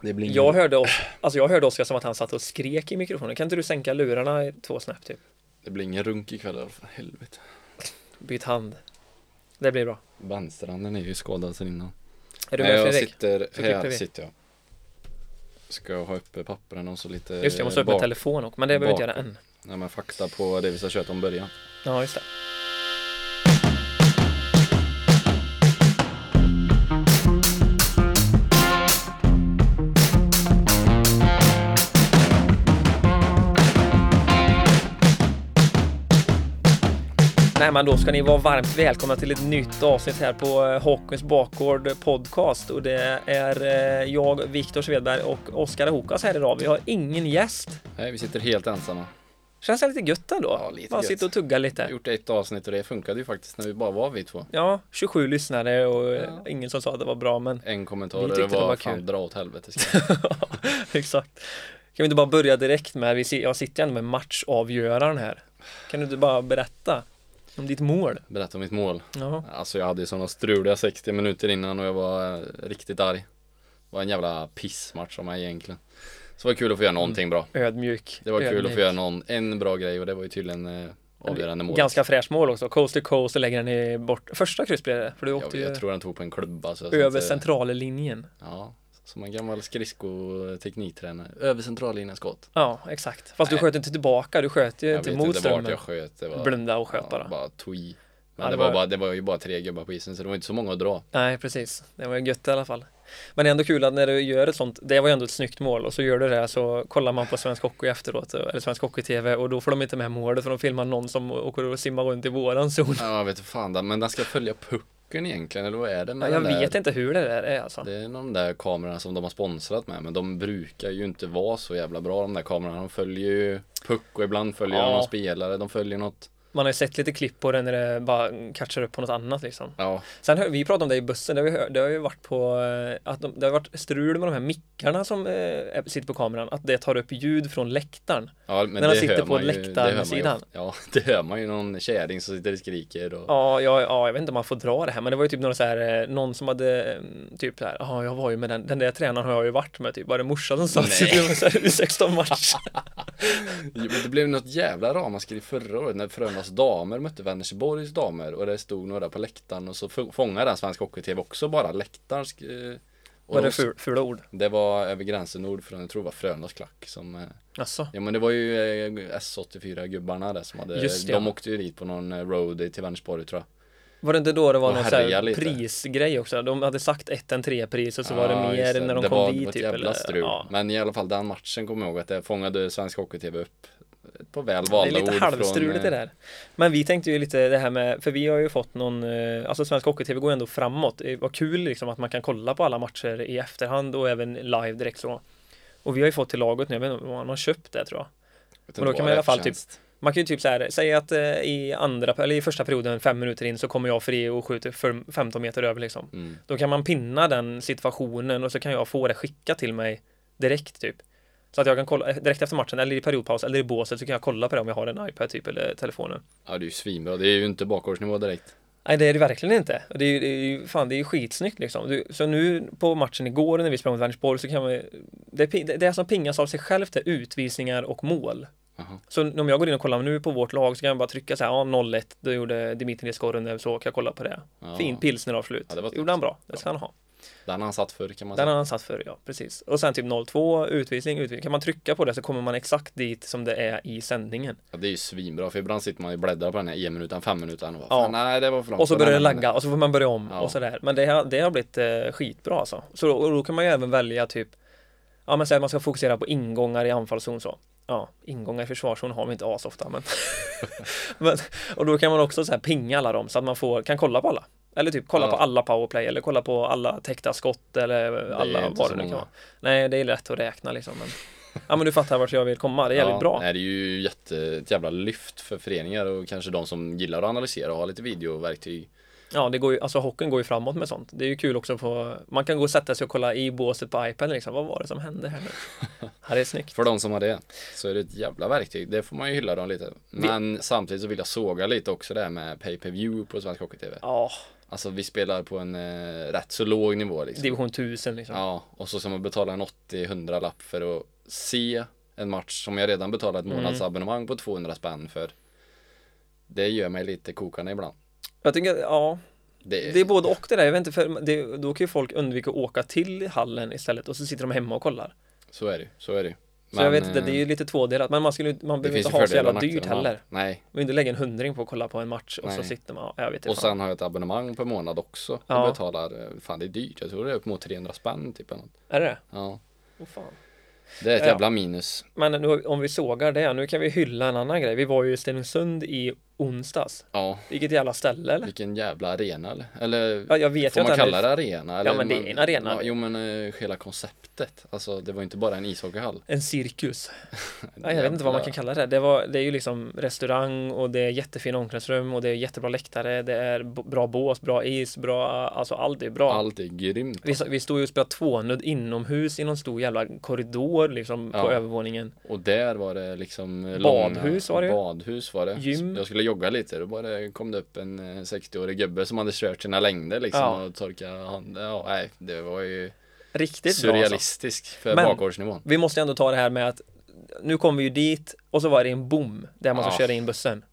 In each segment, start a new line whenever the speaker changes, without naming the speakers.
Det blir
Jag hörde, Os- alltså jag hörde Oskar som att han satt och skrek i mikrofonen. Kan inte du sänka lurarna två snäpp typ?
Det blir ingen runk ikväll i alla fall, helvete.
Byt hand. Det blir bra.
Bandstranden är ju skadad sen innan.
Är du
Nej,
med
jag
Fredrik?
sitter,
Så klipper
här
vi.
sitter jag. Ska jag ha uppe pappren och så lite
Just det, jag måste öppna
eh, bak-
telefon och, men det behöver vi inte göra
bak-
än.
Nej men fakta på det vi ska köra om början.
Ja, just det. Nej men då ska ni vara varmt välkomna till ett nytt avsnitt här på eh, Hockeyns bakgård podcast och det är eh, jag, Viktor Svedberg och Oskar Hokas här idag. Vi har ingen gäst.
Nej vi sitter helt ensamma.
Känns det lite gött ändå?
Ja, lite
Bara
gött.
sitta och tugga
Vi
lite.
har gjort ett avsnitt och det funkade ju faktiskt när vi bara var vi två.
Ja, 27 lyssnare och eh,
Ja.
ingen som sa att det var bra, men
En kommentar
Vi
och det
tyckte det
var,
var
fan
kul."
dra åt helvete. ska jag.
exakt. Kan vi inte bara börja direkt med, vi si- jag sitter ju ändå med matchavgöraren här. Kan du inte bara berätta om ditt mål?
Berätta om mitt mål.
Ja,
Alltså jag hade ju sådana struliga 60 minuter innan och jag var eh, riktigt arg. Det var en jävla pissmatch av mig egentligen. Så det var kul att få göra någonting bra.
ödmjuk.
Det var kul att
ödmjuk.
få göra någon, en bra grej och det var ju tydligen eh, avgörande mål.
Ganska fräscht mål också, coast to coast och lägger den i bort. Första kryss blev det, för du
jag,
åkte
jag
ju
tror han tog på en klubba. Så jag ska
över
inte-
centrallinjen.
Ja, som en gammal skridsko-tekniktränare. Över centrallinjen skott.
Ja, exakt. Fast du
Nej.
sköt inte tillbaka, du sköt ju
Jag
inte
vet
mot
inte vart
strömmen.
jag sköt. Det var
typ Blunda och sköt bara.
ja, bara tog i. Men
Ja,
det,
det
var
var-
bara, det var ju bara tre gubbar på isen så det var inte så många att dra.
Nej, precis. Det var ju gött i alla fall. Men det är ändå kul att när du gör ett sånt, det var ju ändå ett snyggt mål och så gör du det så kollar man på Svensk Hockey efteråt, eller Svensk Hockey-TV och då får de inte med målet för de filmar någon som åker och simmar runt i våran zon.
Ja, jag vet inte fan. den- Men den ska följa pucken egentligen eller vad är Mm, det? med
Ja, jag
den där-
vet inte hur det där är alltså.
Det är de där kamerorna som de har sponsrat med men de brukar ju inte vara så jävla bra de där kamerorna. De följer ju puck och ibland följer de
Ja.
någon spelare, de följer något.
Man har ju sett lite klipp på det när det bara catchar upp på något annat liksom.
Ja,
Sen hör, vi pratade om det i bussen, det har, vi hört, det har ju varit på eh, att de, det har varit strul med de här mickarna som eh, är- sitter på kameran, att det tar upp ljud från läktaren.
ja men
När de
det
sitter
hör
på
man ju, det hör man ju.
läktarsidan.
ofta. Ja, det hör man ju någon kärring som sitter och skriker och
Ja, ja, ja, jag vet inte om man får dra det här, men det var ju typ några så här, eh, någon som hade eh, typ så här, ja, jag var ju med den, den där tränaren har jag ju varit med, typ, var det morsan som sa
Nej.
till mig så här, U16-match?
Jo, men Det blev något jävla ramaskri förra året när Frölundas damer mötte Vänersborgs damer och det stod några på läktaren och så få- fångade den Svensk Hockey-TV också bara läktaren. sk- eh, och
Var
de-
det ful, fula ord?
Det var över gränsen nord från, jag tror det var Frölundas klack som eh,
Alltså,
Ja men det var ju eh, S84-gubbarna där som hade,
Just
de
det, ja. åkte
åkte ju dit på någon eh, roadie till Vänersborg tror jag.
var det inte då det var
Och
någon så
härja
här
lite.
prisgrej också? De hade sagt 1 en 3 pris och så var det
Ja, just
mer när de
det
kom
var, det
dit
var ett
typ.
jävla strul.
ja.
Men i alla fall den matchen kommer jag ihåg att det fångade Svensk Hockey-TV upp på väl
Det är
valda ord
lite
från,
halvstruligt det
eh,
där. Men vi tänkte ju lite det här med, för vi har ju fått någon, eh, alltså Svensk Hockey-TV går ju ändå framåt. Det var kul liksom att man kan kolla på alla matcher i efterhand och även live direkt så. Och vi har ju fått till laget nu, jag vet inte om man har köpt det tror jag.
vet inte
och då
vad
kan man i
det är
alla fall
för
typ-
tjänst.
Man kan ju typ så här, säga att eh, i andra, eller i första perioden, fem minuter in så kommer jag fri och skjuter för 15 meter över liksom.
Mm.
Då kan man pinna den situationen och så kan jag få det skickat till mig direkt typ. Så att jag kan kolla eh, direkt efter matchen eller i periodpaus eller i båset så kan jag kolla på det om jag har en iPad typ eller telefonen.
Ja det är ju svinbra, det är ju inte bakgårdsnivå direkt.
Nej det är det verkligen inte. Och Det är, ju- det är ju fan det är ju skitsnyggt liksom. Du, så nu på matchen igår när vi sprang mot Vänersborg så kan man ju- det, pi- det, det som pingas av sig självt är utvisningar och mål.
Jaha.
Så om jag går in och kollar nu på vårt lag så kan jag bara trycka så här, ja 0-1, då gjorde Dimitri Skorunder så kan jag kolla på det.
Ja.
Fin pilsneravslut.
Ja, det var snyggt.
gjorde han bra, det ska han ha.
Den han satt för kan man
Den
säga.
har han satt för, ja precis. Och sen typ 02, utvisning, utvisning. Kan man trycka på det så kommer man exakt dit som det är i sändningen.
Ja, det är ju svinbra för ibland sitter man ju och bläddrar på den här EM-minuten, fem minuten och bara,
Ja.
fan, nej det var för långt.
Och så
Den
börjar det
här
lagga och så får man börja om
Ja.
och sådär. Men det har, det har blivit eh, skitbra alltså. Så då, och då kan man ju även välja typ Ja men säg att man ska fokusera på ingångar i anfallszon så. Ja, ingångar i försvarszon har vi inte as ofta men. men och då kan man också så här pinga alla dem så att man får, kan kolla på alla. Eller typ kolla
Ja.
på alla powerplay eller kolla på alla täckta skott eller
är
alla
inte
vad
så
det nu kan
många.
vara. Nej, det är lätt att räkna liksom. Men, ja men du fattar vart jag vill komma, det är jävligt
Ja,
bra.
Nej, det är ju jätte, ett jävla lyft för föreningar och kanske de som gillar att analysera och ha lite videoverktyg.
Ja, det går ju, alltså hockeyn går ju framåt med sånt. Det är ju kul också att få, man kan gå och sätta sig och kolla i båset på iPaden liksom, vad var det som hände här nu? Ja, det är snyggt.
För de som har det så är det ett jävla verktyg. Det får man ju hylla dem lite. Men samtidigt så vill jag såga lite också det här med pay per view på Svensk Hockey-TV.
Ja,
Alltså vi spelar på en eh, rätt så låg nivå liksom.
Division 1000 liksom.
Ja, och så ska man betala en 80-100 lapp för att se en match som jag redan betalat ett
Mm.
månadsabonnemang på 200 spänn för. Det gör mig lite kokande ibland.
Jag tycker, ja,
Det,
det är både och det där. Jag vet inte, för det, då kan ju folk undvika att åka till hallen istället och så sitter de hemma och kollar.
Så är det ju, så är det ju. eh,
Så jag vet inte, det är ju lite tvådelat. Men man, skulle, ju- man behöver inte ha så jävla dyrt heller.
Nej,
Man vill inte lägga en hundring på att kolla på en match och så
Nej.
sitter man, ja, jag vet inte.
och
fan.
sen har jag ett abonnemang per månad också. Och
Ja.
betalar, eh, fan det är dyrt, jag tror det är upp mot 300 spänn typ. eller något.
Är det det?
Ja,
Åh, fan.
det är ett
Ja.
jävla minus.
Men nu, om vi sågar det, nu kan vi hylla en annan grej. Vi var ju i Stenungsund i onsdags.
Ja,
Vilket jävla ställe eller?
vilken jävla arena eller? eller
Ja, jag vet ju
Får
att
man
den
kalla
är...
det arena? Eller
men det är
man-
en arena.
Ja, jo men eh, hela konceptet. Alltså det var inte bara en ishockeyhall.
En cirkus. Ja, jag vet inte vad man kan kalla det. Det, var, det är ju liksom restaurang och det är jättefina omklädningsrum och det är jättebra läktare. Det är b- bra bås, bra is, bra, alltså allt är bra.
Allt är grymt.
Vi, sa- vi stod ju och spelade tvånud inomhus i någon stor jävla korridor liksom på
Ja.
övervåningen.
Och där var det liksom eh,
Badhus
långa-
var det ju.
Badhus var det.
Gym.
Jag skulle jogga lite, då bara kom det upp en eh, 60-årig gubbe som hade kört sina längder liksom
Ja.
och torkade hand. Ja, nej, det var ju
Riktigt bra alltså.
surrealistiskt för
Men-
bakgårdsnivån.
Vi måste ändå ta det här med att nu kom vi ju dit och så var det en bom där man ska
Ja.
köra in bussen.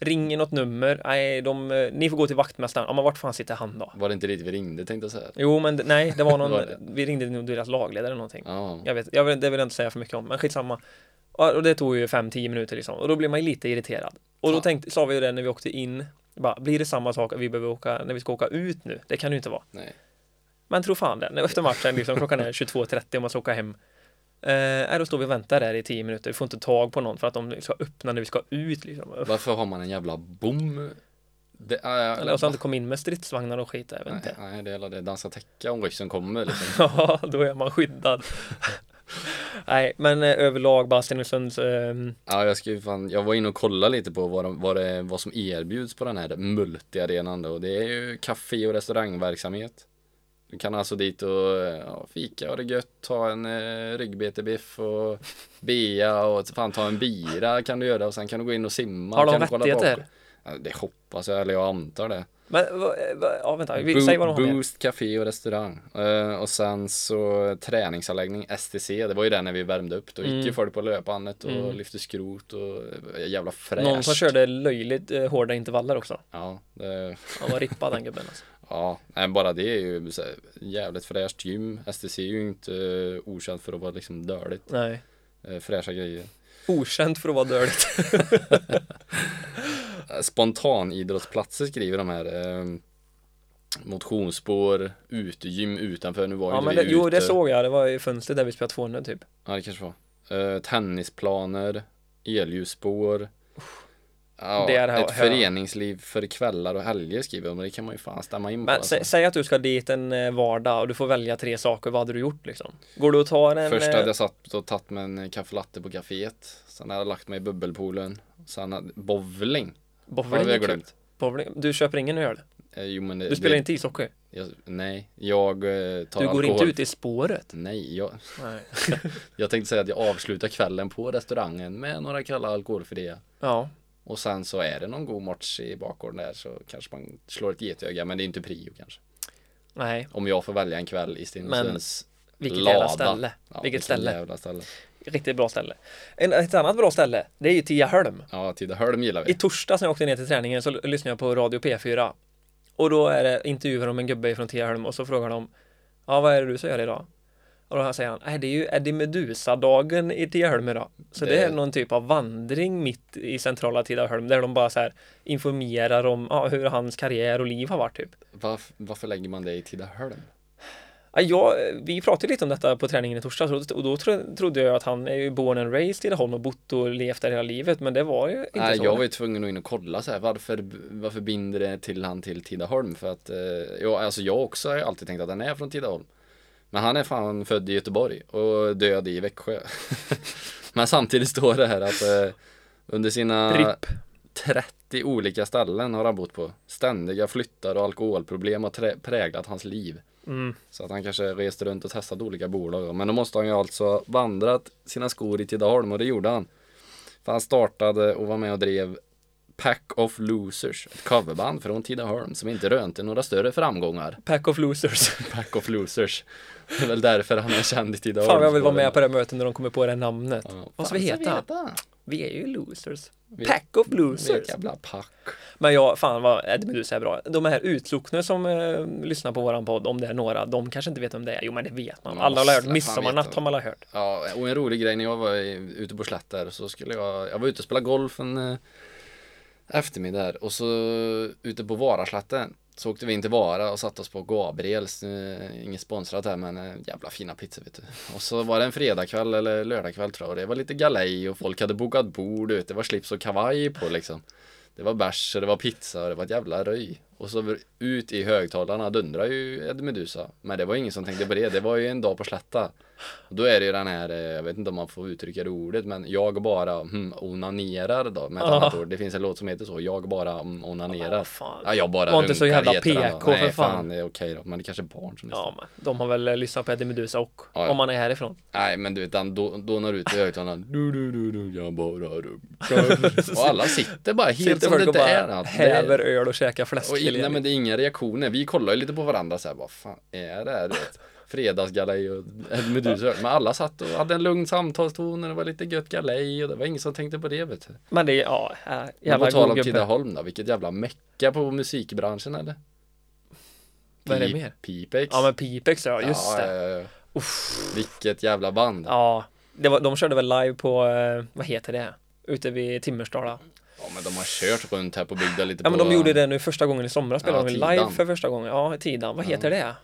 Ringer något nummer? Nej, de, eh, ni får gå till vaktmästaren. Ja, men vart fan sitter han då?
Var det inte dit vi ringde tänkte jag säga.
Jo, men d- nej, det var någon,
Var det?
vi ringde nog deras lagledare eller någonting.
Ja,
Jag vet, jag vill, det vill jag inte säga för mycket om, men skitsamma. Ja, Och det tog ju 5-10 minuter liksom, och då blir man ju lite irriterad. Och då
Ja.
tänkte, sa vi ju det när vi åkte in, bara, blir det samma sak att vi behöver åka, när vi ska åka ut nu? Det kan det ju inte vara.
nej.
Men tro fan det, efter matchen, liksom, klockan är 22.30 och man ska åka hem. Eh, nej, då står vi och väntar där i 10 minuter, vi får inte tag på någon för att de ska öppna när vi ska ut liksom. Uff.
Varför har man en jävla bom? Det, äh,
Eller och så har de inte kommit in med stridsvagnar och skit, jag vet
nej,
inte.
nej, det är hela det. Dansa täcka om ryssen kommer liksom.
Ja, då är man skyddad. nej, men eh, överlag bara Stenungsunds ehm,
Ja, jag, ska ju fan, jag var inne och kollade lite på vad, de, vad, det, vad som erbjuds på den här multiarenan då. Det är ju café och restaurangverksamhet. Du kan alltså dit och ja, fika och det är gött, ta en eh, ryggbetebiff och bea och fan ta en bira kan du göra och sen kan du gå in och simma.
Har de
kan du kolla
rättigheter?
bakåt. Ja, det hoppas jag, eller jag antar det.
Men va, va, ja, vänta, vi,
Bo-
säg vad de har med.
Boost, café och restaurang. Eh, och sen så träningsanläggning, STC, det var ju där när vi värmde upp. Då gick
Mm.
ju folk på löpandet och
Mm.
lyfte skrot och eh, jävla fräscht.
Någon som körde löjligt eh, hårda intervaller också.
Ja, det,
Han var rippad den gubben alltså.
ja, nej, bara det är ju så här, jävligt fräscht gym. STC är ju inte eh, okänt för att vara liksom dörligt.
Nej.
Eh, Fräscha grejer.
Okänt för att vara dörligt.
Eh, Spontanidrottsplatser skriver de här. eh, Motionsspår, utegym utanför. Nu var ju
Ja,
inte
men
vi
det, jo,
ute.
det såg jag. Det var i fönstret där vi spelade 200 typ.
Ja, det kanske var. Eh, tennisplaner, elljusspår. Ja,
Det är-
ett föreningsliv för kvällar och helger skriver de. Men det kan man ju fan stämma in på.
Men sä,
alltså.
säg att du ska dit en eh, vardag och du får välja tre saker. Vad hade du gjort liksom? Går du och tar en...
Först
eh,
hade jag satt och tagit med en kaffelatte på kaféet. Sen hade jag lagt mig i bubbelpoolen. Sen hade, bowling. Vad
bowling,
hade
är
jag
kul.
glömt?
bowling. Du köper ingen öl.
Eh, jo men det,
Du spelar
det,
inte ishockey.
Jag, nej, jag eh, tar
Du går
alkohol.
inte ut i spåret.
Nej, jag,
Nej.
jag tänkte säga att jag avslutar kvällen på restaurangen med några kalla alkoholfria.
Ja.
Och sen så är det någon god match i bakgården där så kanske man slår ett getöga men det är inte prio kanske.
Nej.
Om jag får välja en kväll i Stenungsunds
Vilket
lada.
jävla ställe.
Ja,
Vilket
vilken
ställe.
Jävla ställe.
Riktigt bra ställe. En, ett annat bra ställe, det är ju Tiaholm.
Ja, Tidaholm gillar
I
vi.
torsdags när jag åkte ner till träningen så l- lyssnade jag på Radio P4 Och då är det intervjuer om en gubbe från Tiaholm och så frågar de Ja vad är det du ska göra idag? Och då säger han, "Nej, det är ju Eddie Medusa-dagen i Tidaholm idag. Så det...
Det-
är någon typ av vandring mitt i centrala Tidaholm där de bara så här informerar om ja, hur hans karriär och liv har varit typ.
Varf, varför lägger man det i Tidaholm?
Ja, jag, vi pratade lite om detta på träningen i torsdags och då- och då tro, trodde jag att han är ju born and raised i Tidaholm och bott och levt där hela livet men det var ju inte
Nej,
så.
jag var ju tvungen att in och kolla så här, varför, varför binder det till han till Tidaholm? För att, eh, ja, alltså jag också har ju alltid tänkt att han är från Tidaholm. Men han är fan född i Göteborg och död i Växjö. Men samtidigt står det här att eh, under sina
Ripp.
30 olika ställen har han bott på. Ständiga flyttar och alkoholproblem har trä- präglat hans liv.
Mm.
Så att han kanske reste runt och testade olika bolag. Men då måste han ju alltså ha vandrat sina skor i Tidaholm och det gjorde han. För han startade och var med och drev Pack of Losers, ett coverband från Tidaholm som inte rönte några större framgångar.
Pack of losers.
Pack of Losers. Det är väl därför han är känd i Tidaholm.
Fan jag vill vara med på det här mötet när de kommer på det här namnet.
Ja,
Vad ska vi
fan
heta?
heta?
Vi är ju losers.
Vi-
Pack of
Vi är
losers.
ett jävla pack.
Men jag, fan vad Ed Meduza är bra. De här utslokna som eh, lyssnar på våran podd, om det är några, de kanske inte vet om det är. Jo men det vet man.
Man
Alla har
måste
hört.
fan
Midsommarnatt
veta.
har man alla hört.
Ja, och en rolig grej när jag var i, ute på slätt där så skulle jag, jag var ute och spelade golf en eh, eftermiddag där och så ute på Varaslätten så åkte vi in till Vara och satte oss på Gabriels, eh, inget sponsrat här men eh, jävla fina pizzor vet du. Och så var det en fredagkväll eller lördagkväll tror jag och det var lite galej och folk hade bokat bord ute, det var slips och kavaj på liksom. Det var bärs och det var pizza och det var ett jävla röj. Och så ut i högtalarna dundrade ju Ed Meduza. Men det var ingen som tänkte på det, det var ju en dag på slätta. Då är det ju den här, eh, jag vet inte om man får uttrycka det ordet, men jag bara mm, onanerar då med ett
Ja.
annat ord. Det finns en låt som heter så, jag bara mm, onanerar.
Ah, fan.
Ja, jag bara
Var inte så
runkar,
jävla
heter den då.
PK,
Nej,
för fan.
det är okej då, men det kanske är barn som lyssnar.
Ja, men de har väl eh, lyssnat på Eddie Meduza och
Ja, ja.
om man är härifrån.
Nej, men du vet, han då- dånar ut i högtalarna. Du, du, du, du, jag bara runkar. Och alla sitter bara helt
Sitter
som det
folk och
inte
bara
är något. Det är-
häver öl och käkar
Och in, nej,
fläskfiléer.
men det är inga reaktioner. Vi kollar ju lite på varandra så här, vad fan är det här? Du vet, Fredagsgalej och en Medusa. Men alla satt och hade en lugn samtalston och det var lite gött galej och det var ingen som tänkte på det vet du.
Men det är, ja, äh,
Men
jävla
på tal
god
om
gubbe.
Tidaholm då, vilket jävla mecka på musikbranschen eller?
Vad är det
Pi-
mer?
Pipex.
Ja, men Pipex ja, just
Ja,
det.
ja, ja. Vilket jävla band.
Ja, det var, de körde väl live på, eh, vad heter det? Ute vid Timmersdala.
Ja men de har kört runt här på bygden lite
Ja men
på...
de gjorde det nu första gången i somras spelade
Ja,
de
Tidan.
live för första gången. Ja, Tidan. Vad heter det?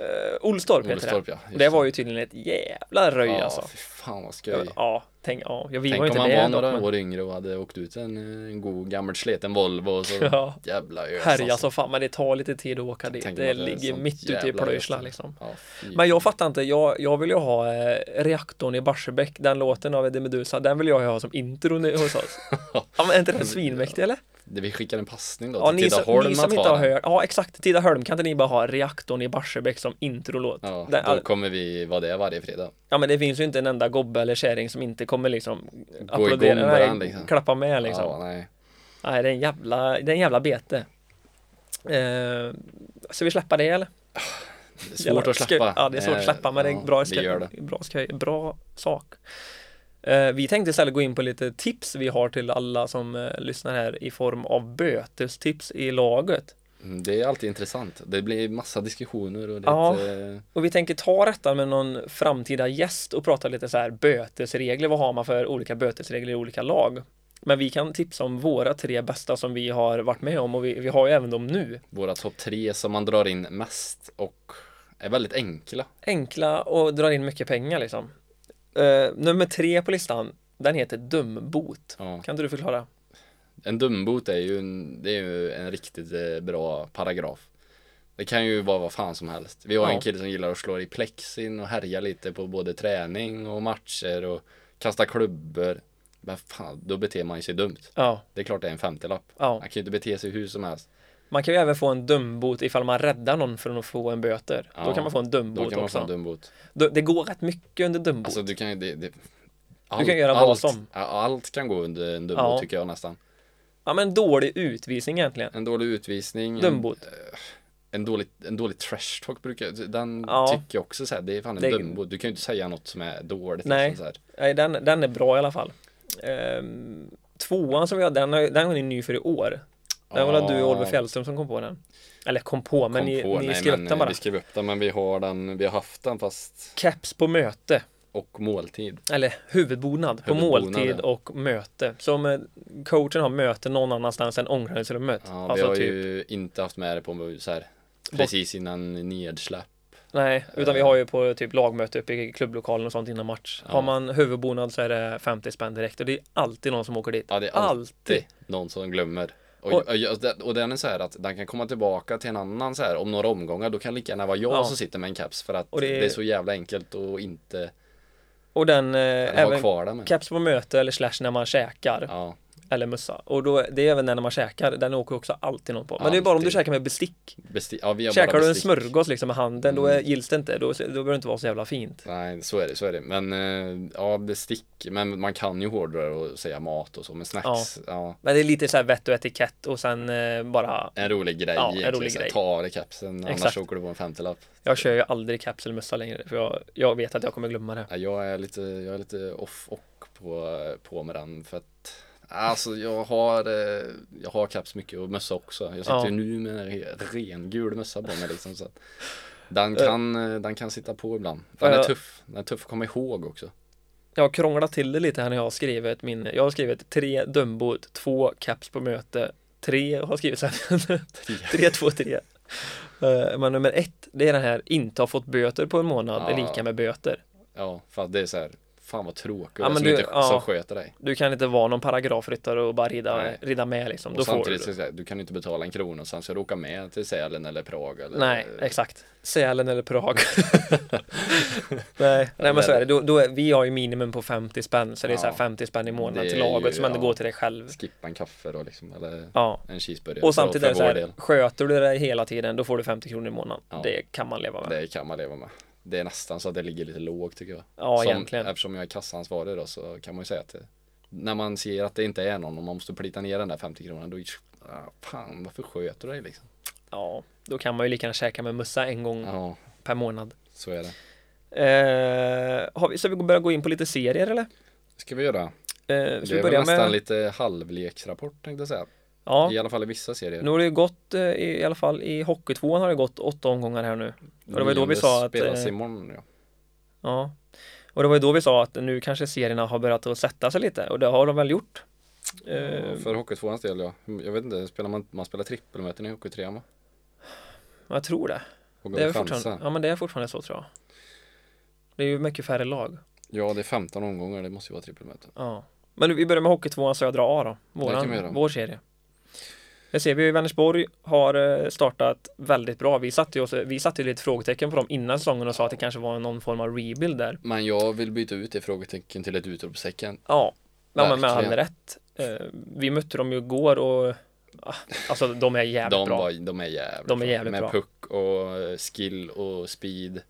Uh, Olstorp heter
Olstorp,
det.
ja, just
det var
det.
ju tydligen ett jävla röj
Ja,
alltså.
fy fan vad skoj.
Ja, tänk, ja, vi var ju
Tänk om
inte
man
där
var
dock,
några
men-
år yngre och hade åkt ut en, en god gammal sleten Volvo och så
Ja.
jävla ös alltså.
Härja som fan, men det tar lite tid att åka dit.
Tänk
Det
om man hade
ligger
sånt
mitt ute i
jävla
Plöjsla
ös.
liksom.
Ja, fy.
Men jag fattar inte, jag, jag vill ju ha eh, reaktorn i Barsebäck, den låten av Eddie Meduza, den vill jag ju ha som intro nu hos oss. ja, men är inte den svinmäktig eller?
Det- Vi skickar en passning då
Ja,
till
ni, som,
Tidaholm
ni som
att
inte
ha
har
den.
hört, ja exakt, Tidaholm, kan inte ni bara ha reaktorn i Barsebäck som introlåt?
Ja,
Den-
då kommer vi vara det varje fredag.
Ja men det finns ju inte en enda gobbe eller kärring som inte kommer liksom
igång
applådera,
med
nej,
den, liksom.
klappa med liksom.
Ja, nej.
Nej det är en jävla, det är en jävla bete. Eh, ska vi släppa det eller?
Det är
Jävla-
svårt att
ska-
släppa.
Ja det är svårt att
Eh,
släppa men det är
ja,
en bra,
vi gör det.
ska, bra, ska, bra sak. Eh, vi tänkte istället gå in på lite tips vi har till alla som eh, lyssnar här i form av bötestips i laget.
Mm, Det är alltid intressant. Det blir massa diskussioner och det
Ja.
är ett, eh,
Och vi tänker ta detta med någon framtida gäst och prata lite så här bötesregler. Vad har man för olika bötesregler i olika lag? Men vi kan tipsa om våra tre bästa som vi har varit med om och vi, vi har ju även dem nu.
våra topp tre som man drar in mest och är väldigt enkla.
Enkla och drar in mycket pengar liksom. Eh, nummer tre på listan, den heter dumbot.
Ja.
Kan inte du förklara?
En dumbot är ju en, det är ju en riktigt eh, bra paragraf. Det kan ju vara vad fan som helst. Vi har
Ja.
en kille som gillar att slå i plexin och härja lite på både träning och matcher och kasta klubbor. Men fan, då beter man ju sig dumt.
Ja,
Det är klart det är en femtiolapp.
Ja.
Man kan ju inte bete sig hur som helst.
man kan ju även få en dumbot ifall man räddar någon från att få en böter. Då
Ja,
kan man få en
Då
dumbot
kan man få en
också.
dumbot.
Då- Det går rätt mycket under dumbot.
Alltså du kan ju, det, det,
Du kan göra vad
allt,
som.
ja, Allt kan gå under en dumbot
Ja.
tycker jag nästan.
ja, men dålig utvisning egentligen.
En dålig utvisning. en-
Dumbot.
en dålig, en dålig trash talk brukar den
Ja.
tycker jag också så här, det är fan en
Det-
dumbo. Du kan ju inte säga något som är dåligt.
Nej.
Liksom, så här.
Nej, den, den är bra i alla fall. Ehm, tvåan som vi har, den, har- den är ny för i år. Den var
Ja.
det du och Oliver Fjällström som kom på den. Eller kom på, men
Ah, Kom
ni,
på,
ni
nej,
skrev
men,
upp den
eh,
bara.
Vi skrev upp den, men vi har den, vi har haft den fast
Keps på möte,
och måltid.
eller huvudbonad på
Huvudbonad,
måltid
ja.
och möte. Som eh, coachen har möte någon annanstans än omklädningsrummet.
Ja, vi
alltså
har
typ,
ju inte haft med det på så här, precis innan nedsläpp.
nej, utan vi har ju på typ lagmöte uppe i klubblokalen och sånt innan match.
Eh. Ja.
Har man huvudbonad så är det 50 spänn direkt och det är alltid någon som åker dit.
Ja, det är
alltid.
alltid någon som glömmer. Och,
Och-
och, just det- och den är så här att den kan komma tillbaka till en annan så här om några omgångar. Då kan det lika gärna vara jag
Ja.
som sitter med en caps för att
Och det
det
är-
är, så jävla enkelt och inte
Och den, eh,
ha
även
kvar den. men-
keps på möte eller slash när man käkar.
Ja,
Eller mössa. Och då, det är även den när man käkar, den åker också alltid någon på. Men det är bara om du
Alltid.
käkar med bestick.
Besti- ja, vi har
Käkar
bara
du en
bestick. Mm.
smörgås liksom med handen, då är, gills det inte. Då, då behöver det inte vara så jävla fint.
Nej, så är det, så är det. Men eh, ja, bestick. Men man kan ju hårdare och säga mat och så, men snacks. Ja.
Men det är lite så här vett och etikett och sen eh, bara
En rolig grej
Ja, en
egentligen.
rolig
så
grej.
Ta av dig kapsen, annars
Exakt.
åker du på en femtelapp.
Jag kör ju aldrig kapselmössa längre för jag, jag vet att jag kommer glömma det.
Ja, jag är lite, jag är lite off och på, på med den för att Alltså jag har, eh, jag har kaps mycket och mössa också. Jag sitter
Ja.
ju nu med en re- rengul mössa på mig liksom. Så att den, kan, eh, den kan sitta på ibland. Den är
Ja.
tuff. Den är tuff att komma ihåg också.
Jag har krånglat till det lite här när jag har skrivit min, jag har skrivit tre Dumbo, två caps på möte, tre har jag skrivit sen. tre, två, tre. Eh, Men nummer ett, det är den här inte har fått böter på en månad är
Ja.
lika med böter.
Ja, för att det är så här. Fan vad tråkigt. Alltså,
Ja,
Ja,
men
som
du-
inte
ja.
som sköter dig.
Du kan inte vara någon paragrafryttare och bara rida,
Nej.
rida med liksom.
Och
Då får du.
samtidigt så
det.
är det så här, du kan ju inte betala en krona och sen ska du åka med till Sälen eller Prag eller
Nej, exakt. Sälen eller Prag. Nej, nej men så är det. Då, då är, vi har ju minimum på 50 spänn, så det är så här
Ja.
50 spänn i månaden
Det
till
är ju-
laget som ändå
ja.
går till dig själv.
skippa en kaffe då liksom eller
Ja,
en cheeseburgare.
Och
för-
samtidigt
för
är det så
vår
här,
del.
sköter du det där hela tiden då får du 50 kronor i månaden.
Ja.
Det kan man leva med.
Det kan man leva med. Det är nästan så att det ligger lite lågt tycker jag.
Ja,
som,
egentligen.
Eftersom jag är kassaansvarig då så kan man ju säga att det, när man ser att det inte är någon och man måste plita ner den där 50 kronan då ah, fan varför sköter du dig liksom?
Ja, då kan man ju lika gärna käka med mössa en gång
Ja,
per månad.
så är det.
Eh, har vi, ska vi börja gå in på lite serier eller?
Ska vi göra?
Eh, ska
Det
vi
är väl
börja
nästan
med?
lite halvleksrapport tänkte jag säga.
ja,
I alla fall i vissa serier.
nu har det ju gått eh, i, i alla fall i hockeytvåan har det gått åtta omgångar här nu. och det var ju då vi
Nionde
sa att,
Spelas
eh,
imorgon ja.
Ja, och det var ju då vi sa att nu kanske serierna har börjat att sätta sig lite och det har de väl gjort. Eh,
För Hockeytvåans del ja. Jag vet inte, spelar man, man spelar trippelmöten i Hockeytrean va?
jag tror det.
Och
Det är,
chansen.
fortfarande, ja, men det är fortfarande så tror jag. Det är ju mycket färre lag.
Ja det är 15 omgångar, det måste ju vara trippelmöten.
Ja. Men vi börjar med Hockeytvåan Södra A då,
Det kan vi göra.
Våran, vår serie. Det ser vi ju Vänersborg har eh, startat väldigt bra. Vi satte ju, oss, vi satte ju lite frågetecken på dem innan säsongen och sa att det kanske var någon form av rebuild där.
Men jag vill byta ut det frågetecken till ett utropstecken.
Ja, ja men med all
Verkligen.
rätt. Eh, Vi mötte dem ju igår och ah, alltså de är jävligt
De,
bra.
var, de är jävligt
De är jävligt
Med
bra.
puck och eh, skill och speed.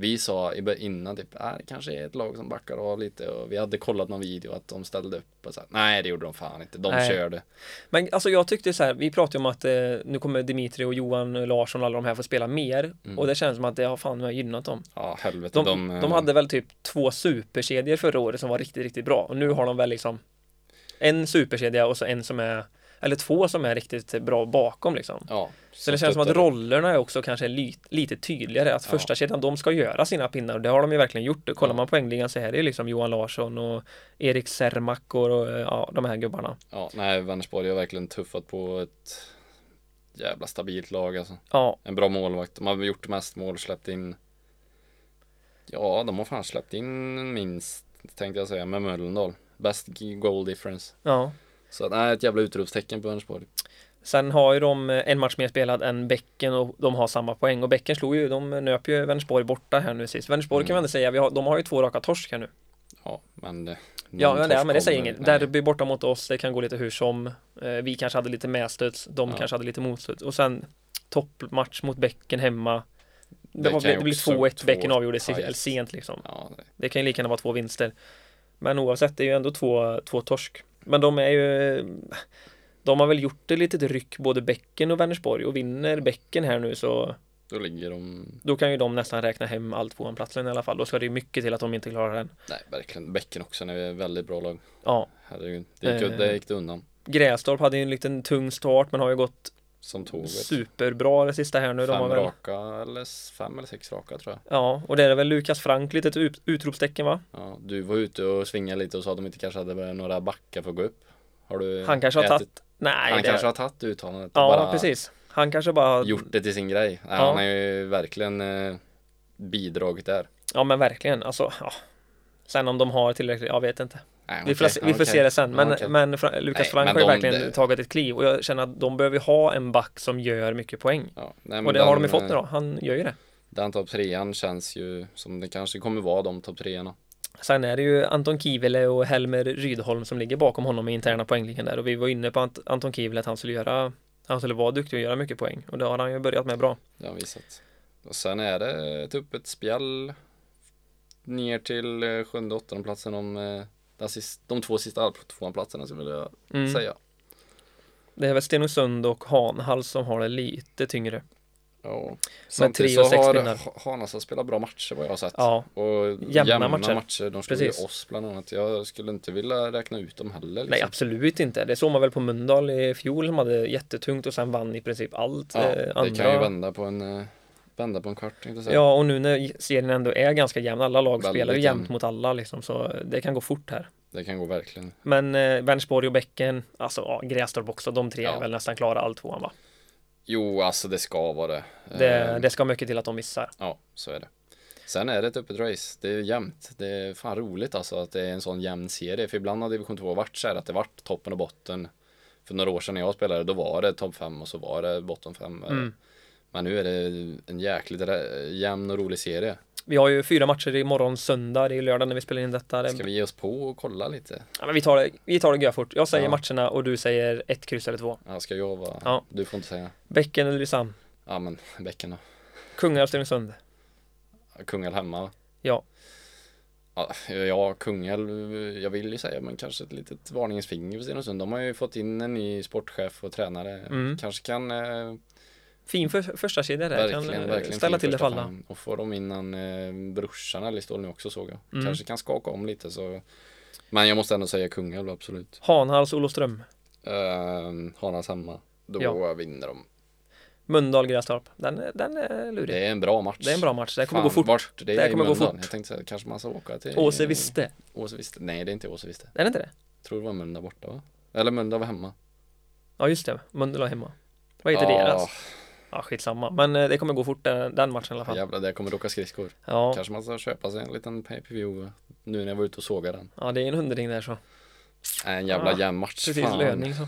Vi sa i bör- innan typ, äh, det kanske är ett lag som backar av lite och vi hade kollat någon video att de ställde upp och så här, nej det gjorde de fan inte, de
Nej.
körde.
Men alltså jag tyckte så här, vi pratade ju om att eh, nu kommer Dimitri och Johan Larsson och alla de här få spela mer
Mm.
och det känns som att det har fan med gynnat dem.
Ja helvete,
De,
de,
de,
eh,
hade väl typ två superkedjor förra året som var riktigt, riktigt bra och nu har de väl liksom en superkedja och så en som är eller två som är riktigt bra bakom liksom.
ja,
Så det känns som att
stöttade.
rollerna är också kanske lite, lite tydligare att första kedjan de ska göra sina pinnar och det har de ju verkligen gjort. Kollar
Ja.
man poängligan så här är det ju liksom Johan Larsson och Erik Sermak och, och ja, de här gubbarna.
Ja, nej Vänersborg har verkligen tuffat på ett jävla stabilt lag alltså.
Ja,
En bra målvakt. De har väl gjort mest mål, släppt in Ja, de har fan släppt in minst tänkte jag säga med Mölndal. Bäst goal difference.
ja.
Så att, nej, ett jävla utropstecken på Vänersborg.
Sen har ju de eh, en match mer spelad än Bäcken och de har samma poäng och Bäcken slog ju, de nöp ju Vänersborg borta här nu sist. Vänersborg
Mm.
kan man inte säga, vi har, de har ju två raka torsk här nu.
Ja, men det,
Ja,
någon
men det,
torsk
men det säger
kommer.
inget.
Nej.
Derby borta mot oss, det kan gå lite hur som. Eh, Vi kanske hade lite medstuds, de
Ja.
kanske hade lite motstuds. Och sen toppmatch mot Bäcken hemma. Det,
Det
var,
kan ju
det blev
också
2-1,
två-
Bäcken avgjorde sig-
tajt.
eller sent liksom.
Ja, nej.
Det kan ju lika gärna vara två vinster. Men oavsett, det är ju ändå två, två torsk. Men de är ju De har väl gjort det litet ryck både Bäcken och Vänersborg och vinner Bäcken här nu så
då ligger de...
då kan ju de nästan räkna hem allt på en platsen i alla fall. Då ska det ju mycket till att de inte klarar den.
Nej, verkligen. Bäcken också när vi är väldigt bra lag.
Ja,
Herregud. Det gick, ju-
Eh.
det gick det undan.
Grästorp hade ju en liten tung start men har ju gått
Som tåget.
superbra det sista här nu. De har
Fem
väl,
raka, eller s- fem eller sex raka tror jag.
ja, och det är väl Lukas Frank, litet ut- utropstecken va?
Ja, du var ute och svingade lite och sa att de inte kanske hade några backar för att gå upp. Har du
Han kanske har
ätit-
tagit Nej,
han
det,
kanske har tagit uttalandet och
Ja,
bara
precis. Han kanske bara
gjort det till sin grej. Nej,
Ja.
Han har ju verkligen eh, bidragit där.
Ja men verkligen, alltså ja. Sen om de har tillräckligt, jag vet inte.
Nej,
Vi får,
okej,
se, vi får se
okej.
det sen. Men,
Ja, okej.
men Fra- Lukas
Nej,
Frank
men
har ju
de-
verkligen
det-
tagit ett kliv och jag känner att de behöver ju ha en back som gör mycket poäng.
Ja, nej, men
Och det har de ju
den,
fått nu
eh,
då, han gör ju det.
Den topp trean känns ju som det kanske kommer vara de topp treorna.
Sen är det ju Anton Kivile och Helmer Rydholm som ligger bakom honom i interna poängligan där och vi var inne på att Anton Kivile att han skulle göra han skulle vara duktig och göra mycket poäng och det har han ju börjat med bra.
Det har han visat. Och sen är det ett öppet spjäll ner till eh, sjunde åttonde platsen om eh, den sist, de två sista alptvåanplatserna skulle jag vilja
Mm.
säga.
Det är väl Stenungsund och Hanhall som har det lite tyngre.
Ja. Samtidigt
tre och
så
sex
har
pinnar.
Ha- Hanasa spelat bra matcher vad jag har sett.
Ja,
Och
Jämna
jämna,
matcher.
matcher. De slog ju
Precis.
oss bland annat. Jag skulle inte vilja räkna ut dem heller. Liksom.
nej absolut inte. Det såg man väl på Mölndal i fjol som hade jättetungt och sen vann i princip allt.
ja,
eh,
det kan ju
andra-
vända på en, eh, vända på en kvart. tänkte jag säga.
Ja, och nu när serien ändå är ganska jämn, alla lag
Väldigt
spelar ju jämnt
jämn.
mot alla liksom, så det kan gå fort här.
Det kan gå verkligen.
Men eh, Vänersborg och Bäcken, alltså ja, Grästorp också, de tre är
Ja.
väl nästan klara all tvåan va?
Jo, alltså det ska vara det.
Det,
Eh,
det ska mycket till att de missar.
Ja, så är det. Sen är det ett öppet race. Det är jämnt. Det är fan roligt alltså att det är en sån jämn serie. För ibland har division 2 varit så här att det varit toppen och botten. För några år sedan när jag spelade då var det topp 5 och så var det botten 5.
Mm.
Men nu är det en jäkligt rä- jämn och rolig serie.
Vi har ju fyra matcher imorgon söndag, det är ju lördag när vi spelar in detta. Det,
Ska vi ge oss på och kolla lite?
ja, men vi tar det, vi tar det görfort. Jag säger
Ja.
matcherna och du säger ett kryss eller två.
Ja, ska jag vara?
Ja.
Du får inte säga.
Bäcken eller Lysann?
Ja, men bäcken då.
Kungälv, Stenungsund?
Kungälv hemma. va?
Ja.
Ja, ja, Kungälv, jag vill ju säga, men kanske ett litet varningens finger för Stenungsund. De har ju fått in en ny sportchef och tränare.
Mm.
Kanske kan eh,
Fin för, första kedja där,
verkligen,
kan eh,
verkligen
ställa
fin
till det för
första
alla.
fan. Och får de in en eh, brorsan eller står nu också såg jag.
Mm.
Kanske kan skaka om lite så. Men jag måste ändå säga Kungälv, absolut.
Hanhals, Olofström,
Eh, Hanas hemma, då
Ja.
vinner de.
Mundal, Grästorp. Den, är- den är lurig.
Det är en bra match.
Det är en bra match, det kommer
Fan,
gå fort.
Vart, det,
Det här
är
kommer
kommer
gå
gå fort.
fort.
Jag tänkte så här, kanske man ska åka till
Åse visste.
Åse Viste. Nej, det är inte Åse Viste.
Är det inte det?
Tror det var Mölndal borta va? Eller Mölndal var hemma.
Ja just det, Mölndal har hemma. Vad heter
Ja,
deras? Ja skitsamma, men eh, det kommer gå fort den, den matchen i alla fall.
Jävlar, det kommer åka skridskor.
Ja,
Kanske man ska köpa sig en liten PPV nu när jag var ute och sågade den.
ja det är en hundring där så.
Nej, en jävla
Ah,
jämn match.
Precis,
fan.
löning så.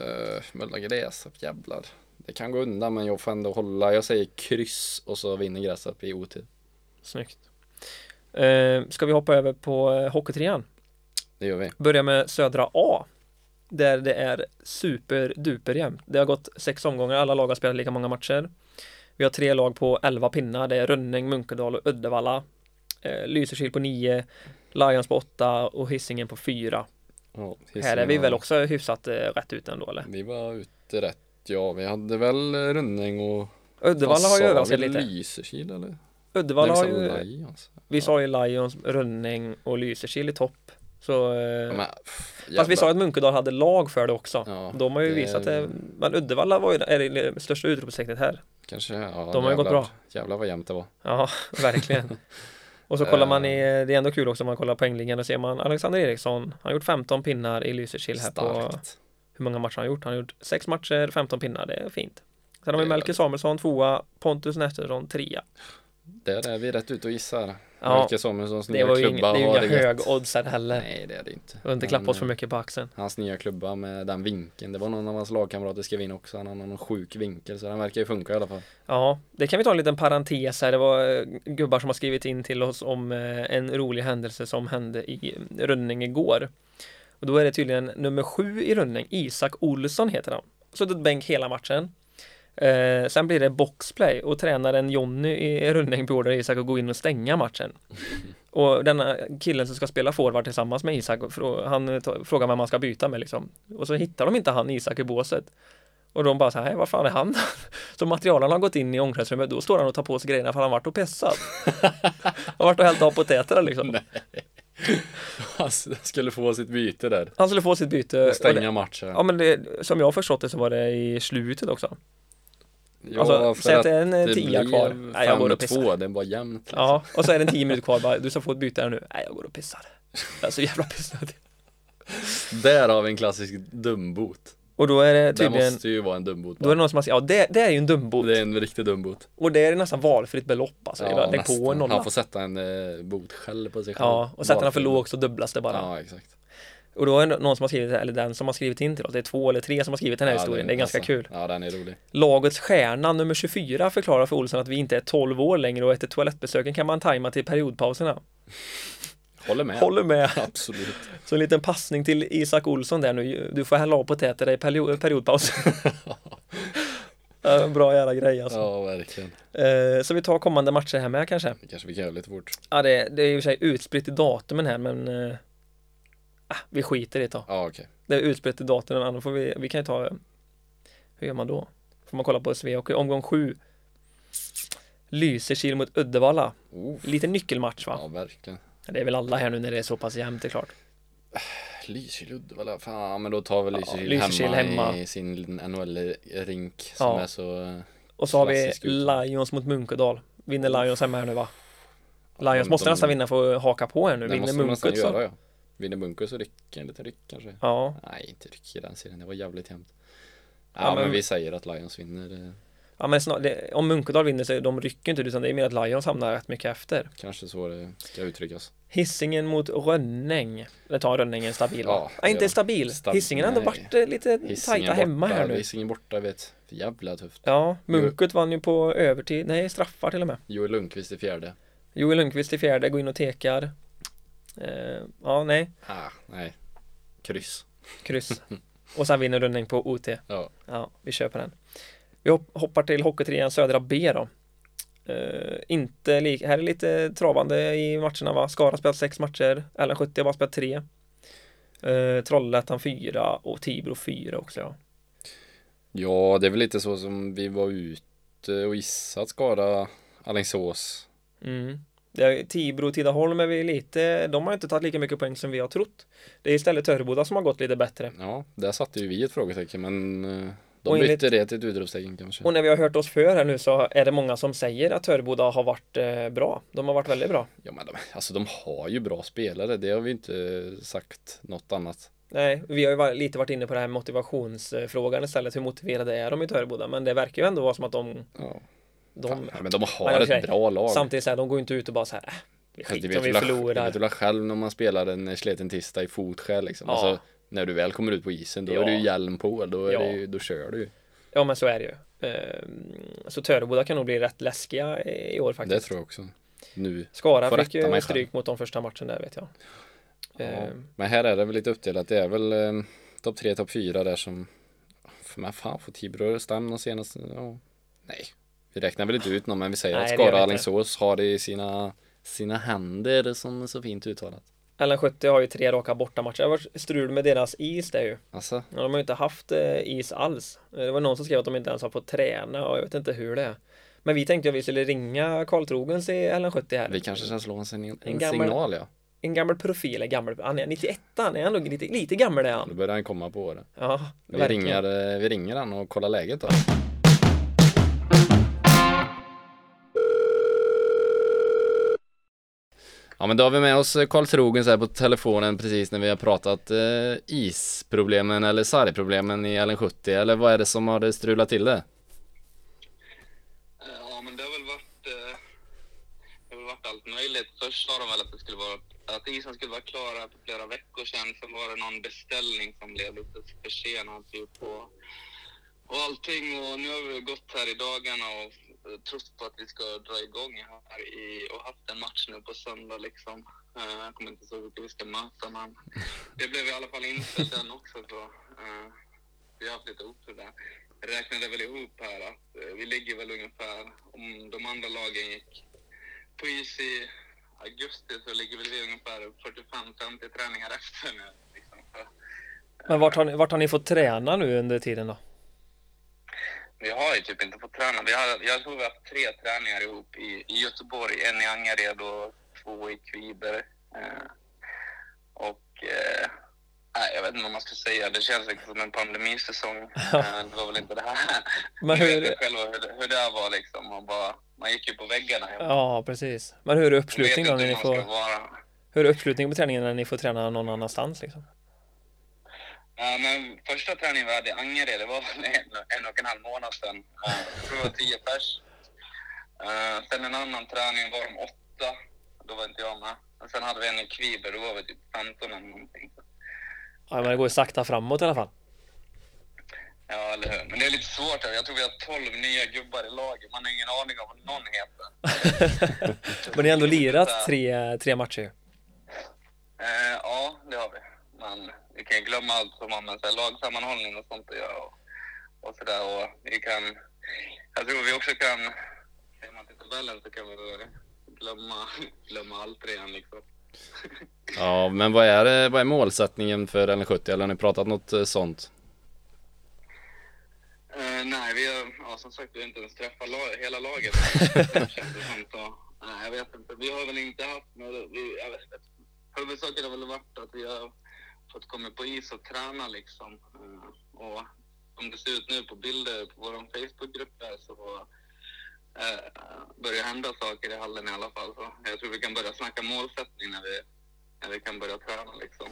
Eh, Mölndal Grästorp, jävlar. Det kan gå undan men jag får ändå hålla. Jag säger kryss och så vinner Grästorp i otid.
Snyggt. Eh, ska vi hoppa över på eh, Hockeytrean?
Det gör vi.
Börja med Södra A. Där det är superduper jämnt. Det har gått sex omgångar, alla lag har spelat lika många matcher. Vi har tre lag på 11 pinnar, det är Rönning, Munkedal och Uddevalla. Eh, Lysekil på 9, Lions på 8 och Hisingen på 4.
Ja,
Här är vi
Hisingen-
väl också hyfsat eh, rätt ut ändå eller?
Vi var ute rätt. Ja, vi hade väl Rönning och
Uddevalla
Vad
har ju
sa
överraskat
vi?
lite.
Lysekil eller?
Uddevalla har ju,
Nej, alltså.
vi sa ju Lions, Rönning och Lysekil i topp. Så, eh,
Men,
fast vi
jävlar.
sa att Munkedal hade lag för det också.
Ja,
De har ju
det-
visat det, men Uddevalla var ju är det största utropstecknet här.
Kanske, ja,
De har ju gått
jävlar.
bra.
Jävlar vad jämnt det var.
Ja, verkligen. Och så kollar man i,
Eh.
det är ändå kul också om man kollar poängligan och ser man Alexander Eriksson, han har gjort 15 pinnar i Lysekil här på,
Starkt.
hur många matcher har han gjort? Han har gjort sex matcher, 15 pinnar, det är fint. Sen har vi
Det är
Melker Samuelsson tvåa, Pontus Nästersson trea.
Där är vi rätt ute och gissar.
Ja,
Melke Samuelssons
Det,
nya
var ju
klubba
inga, det är ju
har
inga
gött.
högoddsare heller.
Nej det är det inte.
Och inte
Men,
klappa oss för
eh,
mycket på axeln.
Hans nya klubba med den vinkeln. Det var någon av hans lagkamrater skrev in också. Han har någon sjuk vinkel så den verkar ju funka i alla fall.
Ja, det kan vi ta en liten parentes här. Det var eh, gubbar som har skrivit in till oss om eh, en rolig händelse som hände i Rönning igår. Och då är det tydligen nummer sju i Rönning, Isak Olsson heter han. Suttit bänk hela matchen. Eh, sen blir det boxplay och tränaren Jonny i Rönning beordrar Isak att gå in och stänga matchen. Och denna killen som ska spela forward tillsammans med Isak, och frå- han eh, ta- frågar vem man ska byta med liksom. Och så hittar de inte han Isak i båset. Och de bara så här, "Hej, vad fan är han? Så materialen har gått in i omklädningsrummet, då står han och tar på sig grejerna för han har varit och pissat. han har varit och hällt av potäterna liksom.
Alltså, det skulle få sitt byte där.
Han skulle få sitt byte.
Och stänga matchen.
Eh, Ja men det, som jag har förstått det så var det i slutet också.
Ja,
alltså,
för
säg att
att
det är en eh,
det
tia
blev
kvar. Nej, jag går och pissar.
5-2, det var jämnt. liksom.
Ja, och så är det en tio minuter kvar bara, du ska få ett byte här nu. Nej, jag går och pissar. Jag är så jävla pissnödig.
Där har vi en klassisk dumbot.
Och då är
Det
det tydligen,
måste ju vara en dumbot.
då är det någon som har sagt, ja det, det är ju en dumbot.
Det är en riktig dumbot.
Och det är nästan valfritt belopp alltså. Ja, Lägg på en
nästan.
nolla.
Han får sätta en eh, bot själv på sig själv.
Ja, och sätter han för
Valfri.
låg så dubblas det bara.
Ja, exakt.
Och då är det någon som har skrivit, eller den som har skrivit in till oss, det är två eller tre som har skrivit den här
Ja,
historien, det är ganska
alltså,
kul.
Ja, den är rolig.
Lagets stjärna nummer 24 förklarar för Olsson att vi inte är 12 år längre och efter toalettbesöken kan man tajma till periodpauserna.
Håller med.
Håller med.
Absolut.
Så en liten passning till Isak Olsson där nu. Du får hälla av potäter i perio- periodpaus. Ja, Bra jävla grej alltså.
Ja, verkligen.
Eh, Så vi tar kommande matcher här med kanske.
Det kanske vi kan göra lite fort.
Ja, det, det är i och för sig utspritt i datumen här men eh, ah, vi skiter i det då.
Ja, okej.
Det är utspritt i datumen, annars får vi, vi kan ju ta eh, Hur gör man då? Får man kolla på SV och omgång 7 Lysekil mot Uddevalla.
Oh,
Lite nyckelmatch va?
ja, verkligen.
Det är väl alla här nu när det är så pass jämnt det är klart.
Lysekil, Uddevalla, fan, men då tar vi Lysekil,
Lysekil
hemma,
hemma.
i sin NHL-rink som
Ja.
är så... eh,
Och så har vi
Klassisk ut.
Lions mot Munkedal. Vinner Lions hemma här nu va? Lions
de-
måste
de-
nästan vinna för att haka på här nu.
Det
Vinner
måste man nästan
Munket
göra,
så.
ja. Vinner Bunkus och ryck, en liten ryck kanske.
Ja,
Nej, inte ryck i den serien, det var jävligt jämnt. Ja,
Ja,
men...
men-
vi säger att Lions vinner, eh,
ja men snar, det, om Munkedal vinner så de rycker inte utan det är mer att Lions hamnar rätt mycket efter.
kanske så det ska uttryckas.
Hissingen mot Rönning. Eller tar Rönningen stabil va?
Ja,
Ja,
det gör
inte
de.
stabil.
Stabil,
Hissingen har ändå
nej.
varit eh, lite tajta hemma
borta,
här nu.
Hisingen borta, vet. Jävla tufft.
Ja, Munket vann ju på övertid, nej straffar till och med.
Joel Lundqvist i fjärde.
Joel Lundqvist i fjärde, går in och tekar. Eh, ja, nej,
Ah, nej. Kryss.
kryss. och sen vinner Rönning på OT.
Ja.
Ja, vi köper den. Vi hop- hoppar till Hockeytrean Södra B då. Eh, inte lik, här är lite travande i matcherna va. Skara har spelat sex matcher, LN70 har bara spelat tre. Eh, Trollhättan fyra och Tibro fyra också ja.
Ja, det är väl lite så som vi var ute och gissat skada Alingsås.
Mm. Det är, Tibro och Tidaholm är vi lite, de har inte tagit lika mycket poäng som vi har trott. Det är istället Töreboda som har gått lite bättre.
Ja, där satte ju vi ett frågetecken, men eh, de
Och enligt-
bytte det till ett utropstecken kanske.
Och när vi har hört oss för här nu så är det många som säger att Töreboda har varit eh, bra. De har varit väldigt bra.
Ja, men de, alltså de har ju bra spelare, det har vi inte sagt något annat.
Nej, vi har ju var- lite varit inne på det här motivationsfrågan istället. Hur motiverade är de i Töreboda? Men det verkar ju ändå vara som att de...
Ja.
de
Fan, men de
Ja,
har
det är
ett
okej.
bra lag.
samtidigt så här, de går ju inte ut och bara så här, äh, det är
Fast det
skit
vet
om vi
väl- det
förlorar.
vet du väl själv när man spelar en sleten tisdag i fotskäl liksom.
Ja.
Alltså, när du väl kommer ut på isen, då
Ja.
är det ju hjälm på, då, är
Ja.
det ju, då kör du ju.
Ja, men så är det ju. Ehm, Så Töreboda kan nog bli rätt läskiga i i år
Det
faktiskt.
tror jag också. Nu.
Skara
Får
fick
rätta
ju
mig
stryk mot de första matchen där vet jag.
Ja.
Ehm,
Men här är det väl lite uppdelat. Det är väl eh, topp tre, topp fyra där som... Men fan, får Tibro stämma de senaste... Ja. Nej, vi räknar väl inte ut någon, men vi säger
Nej,
att
det gör vi
Skara
inte.
Alingsås har det i sina, sina händer, som är så fint uttalat.
LN70 har ju tre raka bortamatcher. Det har varit strul med deras is där ju.
Alltså,
Ja, de har ju inte haft eh, is alls. Eh, Det var någon som skrev att de inte ens har fått träna och jag vet inte hur det är. Men vi tänkte att vi skulle ringa Karl Trogens i LN70 här.
vi kanske ska slå en, sin- en
En gammal-
signal, ja.
En gammal profil, eller gammal, han är 91 han är ändå lite, lite gammal är
Då
han.
börjar han komma på året.
Ja,
Vi
verkligen.
ringer, eh, vi ringer han och kollar läget då. Ja men då har vi med oss eh, Karl Trogen så här på telefonen precis när vi har pratat eh, isproblemen eller sargproblemen i LN70 eller vad är det som har strulat till det?
Ja, men det har väl varit, eh, det har väl varit allt möjligt. Först sa de väl att, det skulle vara, att isen skulle vara klar här för flera veckor sedan. Sen var det någon beställning som blev lite försenad typ, och, och allting. Och nu har vi väl gått här i dagarna och eh, trott på att vi ska dra igång här i, och haft en match nu på söndag. Liksom. Eh, Jag kommer inte ihåg vilka vi ska möta, men det blev i alla fall inställt den också. Så, eh, vi har haft lite otur där. Jag räknade väl ihop här att eh, vi ligger väl ungefär, om de andra lagen gick på is i augusti så ligger väl vi ungefär 45-50 träningar efter nu. Liksom. Så
Men vart har, ni, vart har ni fått träna nu under tiden då?
Vi har ju typ inte fått träna. Vi har, jag tror vi har haft tre träningar ihop i, i Göteborg, en i Angered och två i Kviberg. Eh, och eh, nej, jag vet inte vad man ska säga. Det känns liksom som en pandemisäsong. Eh, det var väl inte det här.
Men
Ni
hur-
vet ju själva hur, det- hur det här var liksom. Man, bara, man gick ju på väggarna. Man
Ja, precis. Men hur är
vet
uppslutningen
inte
då? När
hur
ni
man ska
får,
vara.
hur är uppslutningen på träningen när ni får träna någon annanstans liksom?
Ja, men första träningen vi hade i Angered, det var väl en, en och en halv månad sedan. Ja, Jag tror det var tio pers. Eh, Sen en annan träning var de åtta. Då var inte jag med. Och sen hade vi en i Kviberg, då var vi typ 15 eller någonting.
Ja, men det går ju sakta framåt i alla fall.
Ja, eller hur? Men det är lite svårt. här. Jag tror vi har 12 nya gubbar i laget. Man har ingen aning om vad någon heter.
Men ni har ändå lirat tre, tre matcher ju.
Eh, men vi kan ju glömma allt som har med så här, lagsammanhållning och sånt att göra och, och sådär. Och vi kan, jag tror vi också kan, ser man till tabellen så kan vi väl glömma, glömma allt redan liksom.
Ja, men vad är, det- vad är målsättningen för LN70? Eller har ni pratat något eh, sånt?
Eh, nej, vi har, ja, som sagt, vi har inte ens träffat la- hela laget. Känns det som, så, nej, jag vet inte. Vi har väl inte haft några... Vi, jag vet, inte. huvudsaken har väl varit att vi har fått komma på is och träna liksom. Eh, och som det ser ut nu på bilder på vår Facebookgrupp där så eh, börjar hända saker i hallen i alla fall. Så jag tror vi kan börja snacka målsättning när vi, när vi kan börja träna liksom.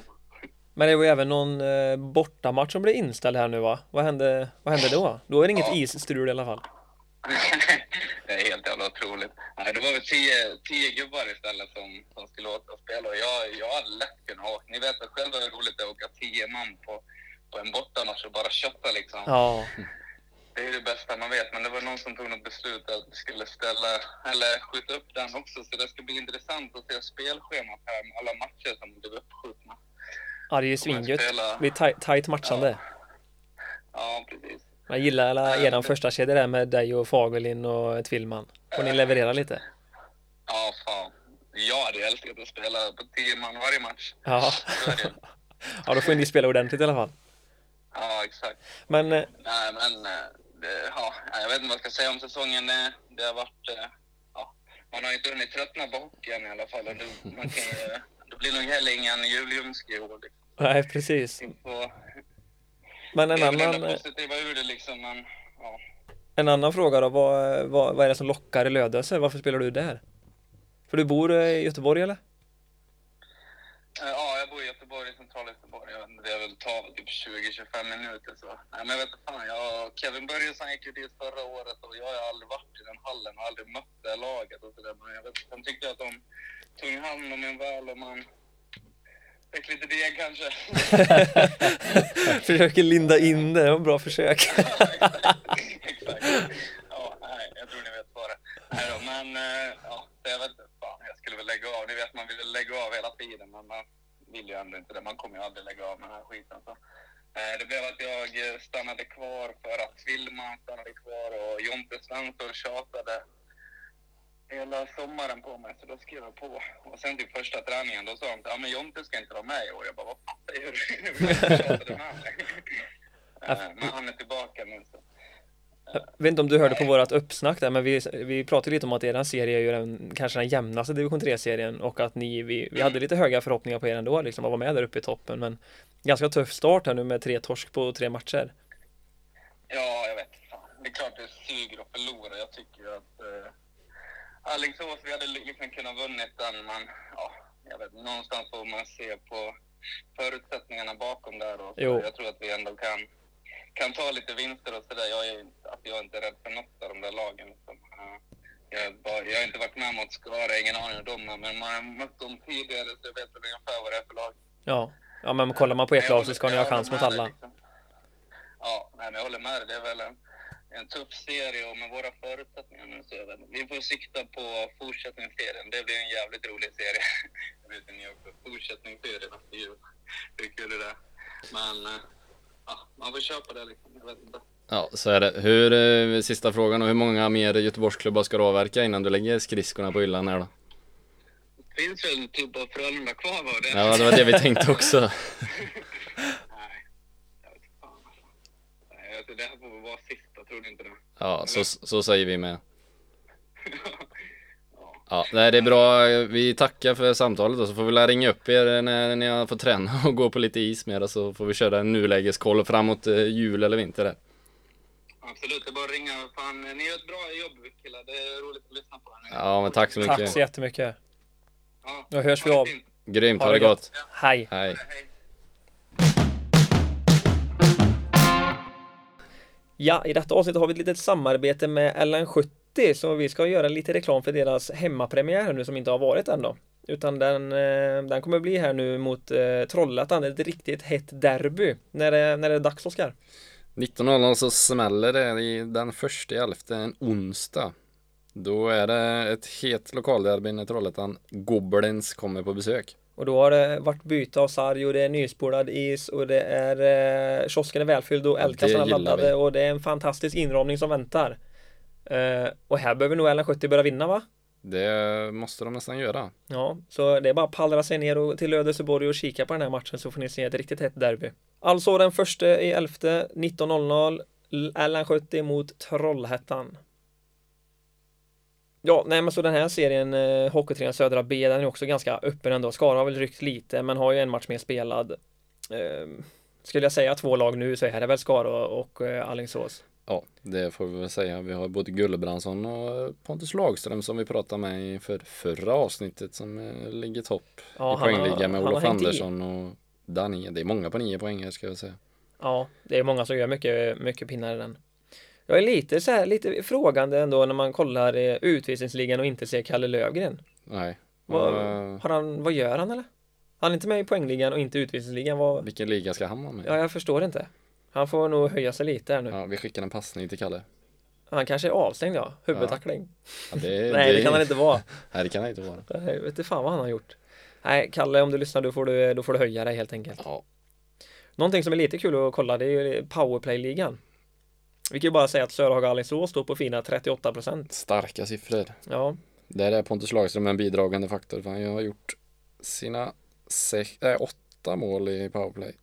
Men det var ju även någon eh, bortamatch som blev inställd här nu va? Vad hände, vad hände då? Då är det inget
Ja.
isstrul i alla fall.
det är helt jävla otroligt. Nej, det var väl tio, tio gubbar istället som, som skulle åka och spela. Och jag, jag hade lätt kunnat åka. Ni vet väl själva hur roligt det är att åka tio man på, på en bortamatch och bara kötta liksom.
Ja,
Det är det bästa man vet. Men det var någon som tog något beslut att vi skulle ställa, eller skjuta upp den också. Så det ska bli intressant att se spelschemat här med alla matcher som blev uppskjutna.
ja det är ju
Kommer
svingött.
spela-
Det blir taj- tajt matchande.
Ja, precis.
Jag gillar alla
Ja,
eran
det-
första kedja där med dig och Fagerlin och Tvillman. Och ni levererar lite.
Ja, fan. Jag hade ju älskat att spela på tio man varje match.
Ja.
Så är det ju.
ja, då får ni spela ordentligt i alla fall.
Ja, exakt.
Men eh,
Nej, men eh, det, ja, jag vet inte vad jag ska säga om säsongen. Det, det har varit... eh, Ja, man har ju inte hunnit tröttna på hockeyn i alla fall. Och det, man kan ju, det blir nog heller ingen julljumske i år. Liksom.
nej, precis.
Så,
Men
det
en
är väl det
annan,
enda
eh,
positiva ur det liksom. Men, ja.
en annan fråga då. Vad, vad, vad är det som lockar i Lödöse? Varför spelar du där? För du bor eh, i Göteborg eller?
Eh, Ja, jag bor i Göteborg, i centrala Göteborg. Jag vet inte, Det väl ta typ 20-25 minuter. Så. Nej, men jag vet inte fan. Jag, Kevin Börjesson gick ju dit förra året och jag har aldrig varit i den hallen och aldrig mött det laget. Och så där. Men jag vet, sen tyckte jag att de tog hand om en väl och man fick lite deg kanske.
Försöker linda in det. Det var ett bra försök.
Exakt. Ja, nej, jag tror ni vet svaret. Nej då, men eh, ja, så jag vet inte, fan, jag skulle väl lägga av. Ni vet, man vill ju lägga av hela tiden, men man vill ju ändå inte det. Man kommer ju aldrig lägga av med den här skiten. Så. Eh, Det blev att jag eh, stannade kvar för att Tillman stannade kvar och Jonte Svensson tjatade hela sommaren på mig, så då skrev jag på. Och sen typ första träningen, då sa de ja men Jonte ska inte vara med i år. Jag bara, vad fan säger du? Jag tjatade med mig. Eh, Men han är tillbaka nu. Så.
Jag vet inte om du hörde på vårat uppsnack där, men vi, vi pratade lite om att eran serie är ju den, kanske den jämnaste division 3-serien och att ni, vi, vi hade lite höga förhoppningar på er ändå, liksom att vara med där uppe i toppen, men ganska tuff start här nu med tre torsk på tre matcher.
Ja, jag vet. Fan. Det är klart det suger att förlora. Jag tycker ju att eh, Alingsås, vi hade liksom kunnat vunnit den, men ja, jag vet, någonstans får man se på förutsättningarna bakom där. Och så.
Jo.
Jag tror att vi ändå kan, kan ta lite vinster och sådär. Jag är, alltså, jag är inte rädd för något av de där lagen. Liksom. Eh, Jag, har bara, jag har inte varit med mot Skara, jag har ingen aning om dem, är, men man har mött dem tidigare så jag vet ungefär vad det är för lag.
Ja, ja men kollar man på ert lag så ska ni ha
Jag håller
chans mot
med dig,
alla.
liksom. Ja, nej, men jag håller med dig. Det är väl en, en tuff serie och med våra förutsättningar nu så är det- Vi får sikta på fortsättning i serien. Det blir en jävligt rolig serie. Jag vet inte ni också. Fortsättning i serien efter jul. Hur kul är det? Men eh, ja, man får köpa det liksom. Jag vet inte.
Ja, så är det. Hur, eh, sista frågan och hur många mer Göteborgsklubbar ska du avverka innan du lägger skridskorna på hyllan här då?
Finns väl typ bara Frölunda kvar var det?
Ja, det var det vi tänkte också.
Nej, jag vet inte fan alltså. Nej, jag tror Det här får väl vara sista, tror ni inte det?
Ja, så, så säger vi med.
ja.
Ja, nej, det är bra. Vi tackar för samtalet och så får vi lära ringa upp er när ni har fått träna och gå på lite is mer och så får vi köra en nulägeskoll framåt eh, jul eller vinter där.
Absolut, det är bara att ringa. Fan, ni gör ett bra jobb killar. Det är roligt att lyssna på er.
Ja, men tack så mycket.
Tack så jättemycket.
Ja.
Då hörs vi
Ha det
av.
fint.
Grymt,
Ha
ha
det
det gott.
Hej!
Hej.
Hej.
Ja, i detta avsnitt har vi ett litet samarbete med LN70 så vi ska göra lite reklam för deras hemmapremiär här nu som inte har varit än då. Utan den, eh, den kommer bli här nu mot eh, Trollhättan, ett riktigt hett derby. När det, när det är dags Oskar?
19.00 så smäller det i den första i elfte, en onsdag. Då är det ett het lokalderby när Trollhättan Goblins kommer på besök.
Och då har det varit byte av sarg och det är nyspolad is och det är eh, kiosken är välfylld och
Ja, det
eldkastarna
gillar
laddade
vi.
och det är en fantastisk inramning som väntar. Eh, och här behöver nog LN70 börja vinna va?
Det måste de nästan göra.
Ja, så det är bara att pallra sig ner och till Ödesborg och kika på den här matchen så får ni se ett riktigt hett derby. Alltså den första i elfte 19.00 LN70 mot Trollhättan. Ja, nej men så den här serien eh, Hockeytrean Södra B den är också ganska öppen ändå. Skara har väl ryckt lite men har ju en match mer spelad. Eh, skulle jag säga två lag nu så är det väl Skara och eh, Alingsås.
Ja, det får vi väl säga. Vi har både Gullebrandsson och Pontus Lagström som vi pratade med i för förra avsnittet som eh, ligger topp
Ja,
i poängligan med
han har
Olof
hängt i.
Andersson och Danny. Det är många på nio poäng här ska jag säga.
Ja, det är många som gör mycket, mycket pinnar i den. Jag är lite så här, lite frågande ändå när man kollar eh, utvisningsligan och inte ser Kalle Lövgren.
Nej.
Vad,
Och,
har han, vad gör han eller? Han är inte med i poängligan och inte utvisningsligan. Vad,
vilken liga ska han vara med?
ja, jag förstår inte. Han får nog höja sig lite här nu.
Ja, vi skickar en passning till Kalle.
Han kanske är avstängd ja, huvudtackling.
Ja, det,
Nej, det kan han inte vara.
Nej, det kan han inte vara.
Jag vet inte fan vad han har gjort. Nej, Kalle om du lyssnar då får du, då får du höja dig helt enkelt.
Ja,
Någonting som är lite kul att kolla det är ju powerplay-ligan. Vi kan ju bara säga att Sörhaga och Alingsås står på fina 38 procent.
starka siffror.
Ja,
Där är Pontus Lagström en bidragande faktor för han har gjort sina sex, äh, åtta mål i powerplay.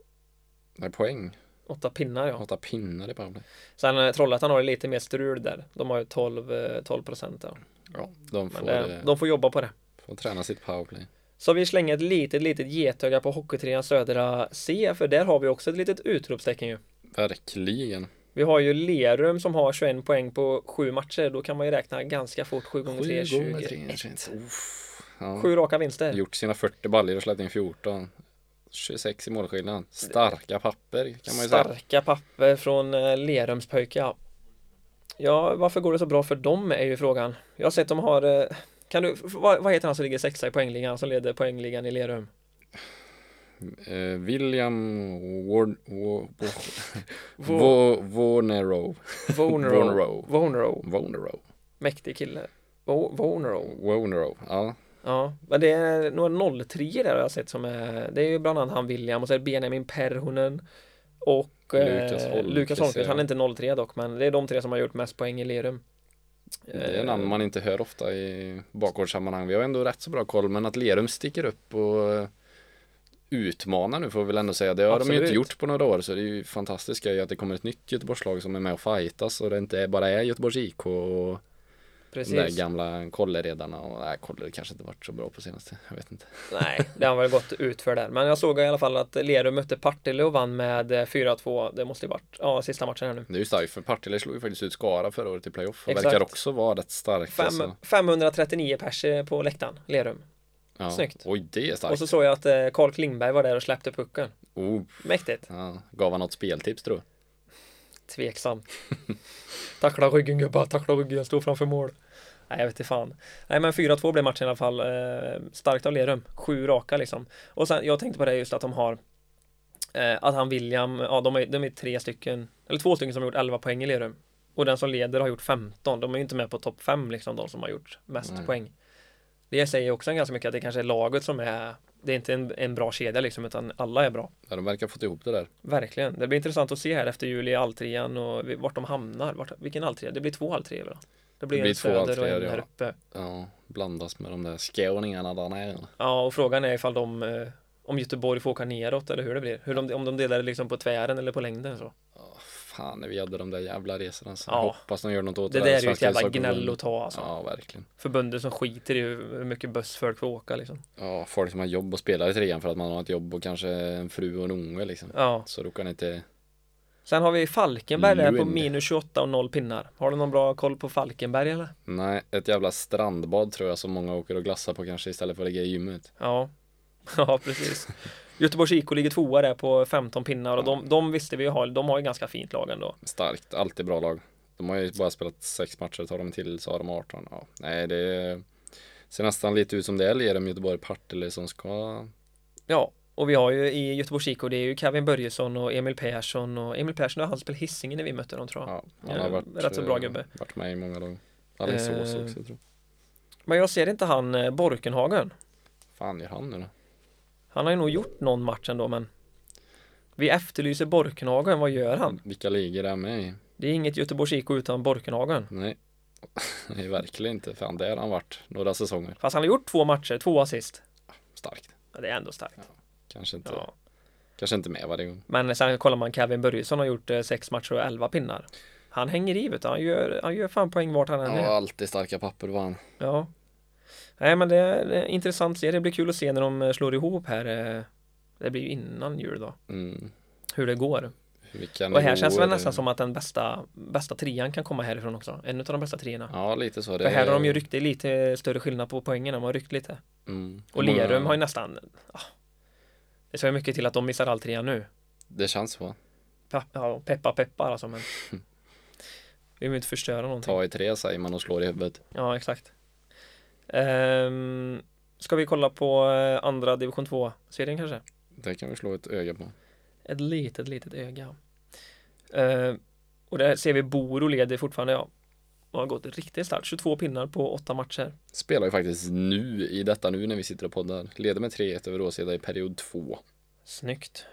Nej, poäng.
åtta pinnar ja.
Åtta pinnar i powerplay.
Sen eh, Trollhättan har ju lite mer strul där. De har ju 12, eh, 12 procent. Ja.
Ja, de får,
Men det,
eh,
de får jobba på det.
får träna sitt powerplay.
Så vi slänger ett litet, litet getöga på Hockeytrean Södra C, för där har vi också ett litet utropstecken ju.
Verkligen.
Vi har ju Lerum som har 21 poäng på 7 matcher. Då kan man ju räkna ganska fort. 7 gånger 3 är 21.
Ja.
7 raka vinster.
Gjort sina 40 baller och släppt in 14. 26 i målskillnad. Starka papper kan man ju säga.
Starka papper från eh, Lerums pojkar. Ja, varför går det så bra för dem är ju frågan. Jag har sett de har eh, kan du, f- vad, vad heter han som ligger sexa i poängligan, som leder poängligan i Lerum?
Eh, William Warn... Warnero.
Vonero.
Vonero.
Vonero.
Warnero.
Mäktig kille. Vo- Vonero.
Warnero. Ja,
Ja, men det är några 03 där har jag sett som är, det är ju bland annat han William och så är det Benjamin Perhonen och eh,
Lukas Holmqvist,
Lukas Holmqvist. Han är
ja.
inte 03 dock, men det är de tre som har gjort mest poäng i Lerum.
det är
Eh,
namn man inte hör ofta i bakgårdssammanhang. Vi har ändå rätt så bra koll, men att Lerum sticker upp och eh, utmanar nu får vi väl ändå säga. Det har de ju
Absolut.
inte gjort på några år, så det är ju fantastiskt ju att det kommer ett nytt Göteborgslag som är med och fightas och det inte bara är Göteborgs IK och de där
Precis.
gamla kolleredarna och nej, koller kanske inte varit så bra på senaste. Jag vet inte.
Nej, det har väl gått ut för där. Men jag såg i alla fall att Lerum mötte Partille och vann med eh, 4-2. Det måste ju varit, ja, sista matchen här nu.
Det är ju starkt för Partille slog ju faktiskt ut Skara förra året i playoff och
Exakt.
verkar också vara rätt starka.
Fem,
så-
539 pers eh, på läktaren, Lerum.
ja.
snyggt.
Oj, det är starkt.
Och så såg jag att eh, Carl Klingberg var där och släppte pucken.
Oh,
Mäktigt.
ja. Gav han något speltips tror jag.
Tveksam. tackla ryggen gubbar, tackla ryggen, jag står framför mål. Nej, jag vet inte fan. Nej, men 4-2 blev matchen i alla fall. Eh, starkt av Lerum. Sju raka liksom. Och sen, jag tänkte på det just att de har eh, att han William, ja de är, de är tre stycken, eller två stycken som har gjort 11 poäng i Lerum. Och den som leder har gjort 15. De är ju inte med på topp 5 liksom, de som har gjort mest
Nej.
poäng. Det säger också ganska mycket att det kanske är laget som är, det är inte en, en bra kedja liksom, utan alla är bra.
Ja, de verkar ha fått ihop det där.
Verkligen. Det blir intressant att se här efter jul i alltrean och vi- vart de hamnar. Vart, vilken alltrea? Det blir två alltreor va? Det blir,
Det blir
en
två
söder och
alltreor,
en här
ja.
uppe.
Ja, blandas med de där skåningarna där nere.
Ja, och frågan är ifall de eh, om Göteborg får åka neråt eller hur det blir. Hur de, om de delar det liksom på tvären eller på längden så.
Åh, fan, när vi hade de där jävla resorna. Så
Ja.
jag hoppas de gör något åt
Det
det.
där är ju ett
Svenska
jävla
ishockeyförbundet.
gnäll att ta alltså.
Ja, verkligen.
Förbundet som skiter i hur hur mycket buss folk får åka liksom.
Ja, folk som har jobb och spelar i trean för att man har ett jobb och kanske en fru och en unge liksom.
Ja.
Så då kan inte...
Sen har vi Falkenberg där på
Lund.
minus 28 och noll pinnar. Har du någon bra koll på Falkenberg eller?
Nej, ett jävla strandbad tror jag som många åker och glassar på kanske istället för att ligga i gymmet.
Ja, ja precis. Göteborgs IK ligger tvåa där på 15 pinnar och de, de visste vi ju har, de har ju ganska fint lag ändå.
Starkt, alltid bra lag. De har ju bara spelat sex matcher, tar de till så har de 18. Ja, nej, det är... ser nästan lite ut som det är Lerum, Göteborg, Partille som ska...
Ja, och vi har ju i Göteborgs IK, det är ju Kevin Börjesson och Emil Persson och Emil Persson och han spelade Hisingen när vi mötte dem tror jag.
Ja, han har
Ja,
varit,
rätt så bra
eh,
gubbe.
varit med i många lag. Alingsås
Eh.
också tror jag.
Men jag ser inte han eh, Borkenhagen.
fan gör han nu då?
Han har ju nog gjort någon match ändå men Vi efterlyser Borkenhagen, vad gör han?
Vilka ligor är han med i?
Det är inget Göteborgs IK utan Borkenhagen
Nej. Nej, verkligen inte. Fan, det har han varit några säsonger.
Fast han har gjort två matcher, två assist
Starkt.
ja, Det är ändå starkt
Kanske inte,
ja.
kanske inte med varje gång.
Men sen kollar man Kevin Börjesson har gjort eh, sex matcher och elva pinnar Han hänger i vet du, han gör, han gör fan poäng vart han än
Han
är
har alltid starka papper var han.
Ja. Nej men det är en intressant serie, det blir kul att se när de eh, slår ihop här. eh, Det blir ju innan jul då,
Mm.
hur det går.
Vilka
Och här känns det
nivåer.
väl nästan som att den bästa, bästa trean kan komma härifrån också. En av de bästa treorna.
Ja, lite så. Det
För här har de ju ryckt det är lite större skillnad på poängen, de har ryckt lite.
Mm.
Och
Hur många-
Lerum har ju nästan, ah, det sa ju mycket till att de missar all trea nu.
Det känns så.
Pe- ja, peppa peppar alltså men. Vi vill inte förstöra någonting.
Ta i tre säger man och slår i huvudet.
Ja, exakt. Ehm, ska vi kolla på eh, andra division 2-serien kanske?
Det kan vi slå ett öga på.
Ett litet, litet öga. Ehm, och där ser vi Boro leder fortfarande, ja. De har gått riktigt starkt, 22 pinnar på 8 matcher.
Spelar ju faktiskt nu, i detta nu när vi sitter och poddar. Leder med 3-1 över Råseda i period 2.
Snyggt.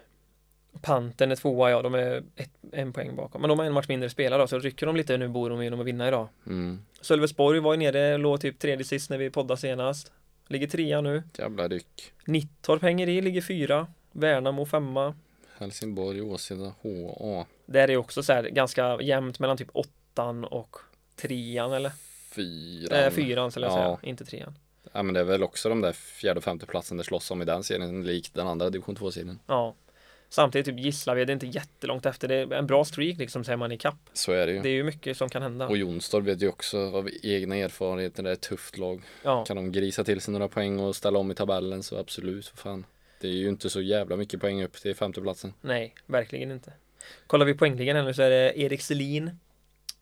Panten är tvåa, ja, de är ett, en poäng bakom. Men de har en match mindre spelare då, så rycker de lite nu Boro genom att vinna idag.
Mm.
Sölvesborg var ju nere, låg typ tredje sist när vi poddade senast. Ligger trea nu.
Jävla ryck.
Nittorp hänger i, ligger fyra. Värnamo femma.
Helsingborg, Åseda, HA.
Där är det också så här ganska jämnt mellan typ åttan och trean eller?
Fyran.
Nej, fyran skulle jag
Ja.
säga, inte trean.
Ja men det är väl också de där fjärde och femte platsen det slåss om i den serien, likt den andra division 2-serien.
Ja. Samtidigt typ Gislaved är inte jättelångt efter, det är en bra streak liksom säger man i kapp.
Så är det ju.
Det är ju mycket som kan hända.
Och Jonstorp vet ju också av egna erfarenheter, det är ett tufft lag.
Ja,
Kan de grisa till sig några poäng och ställa om i tabellen så absolut, för fan. Det är ju inte så jävla mycket poäng upp till femteplatsen.
nej, verkligen inte. Kollar vi poängligan här nu så är det Erik Selin.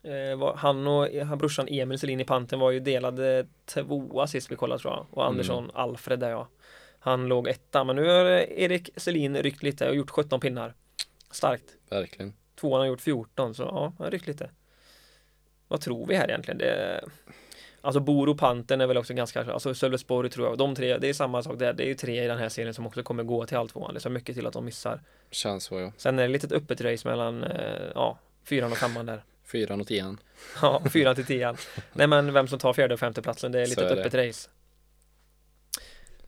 Eh, var- han och han, brorsan Emil Selin i panten var ju delade tvåa sist vi kollade tror jag. Och Andersson Alfred där ja. Han låg etta, men nu har eh, Erik Selin ryckt lite och gjort 17 pinnar. Starkt.
Verkligen.
Tvåan har gjort 14 så ja, han har ryckt lite. Vad tror vi här egentligen? Det... Alltså Boro Panten är väl också ganska, alltså Sölvesborg tror jag, de tre, det är samma sak där. Det är ju tre i den här serien som också kommer gå till alltvåan. Det är så mycket till att de missar.
Känns så ja.
Sen är det ett litet öppet race mellan, eh, ja, fyran och femman där.
Fyran och tian.
Ja, fyran till tian. Nej men vem som tar fjärde och femte platsen, det är ett
Så
litet
är det.
öppet race.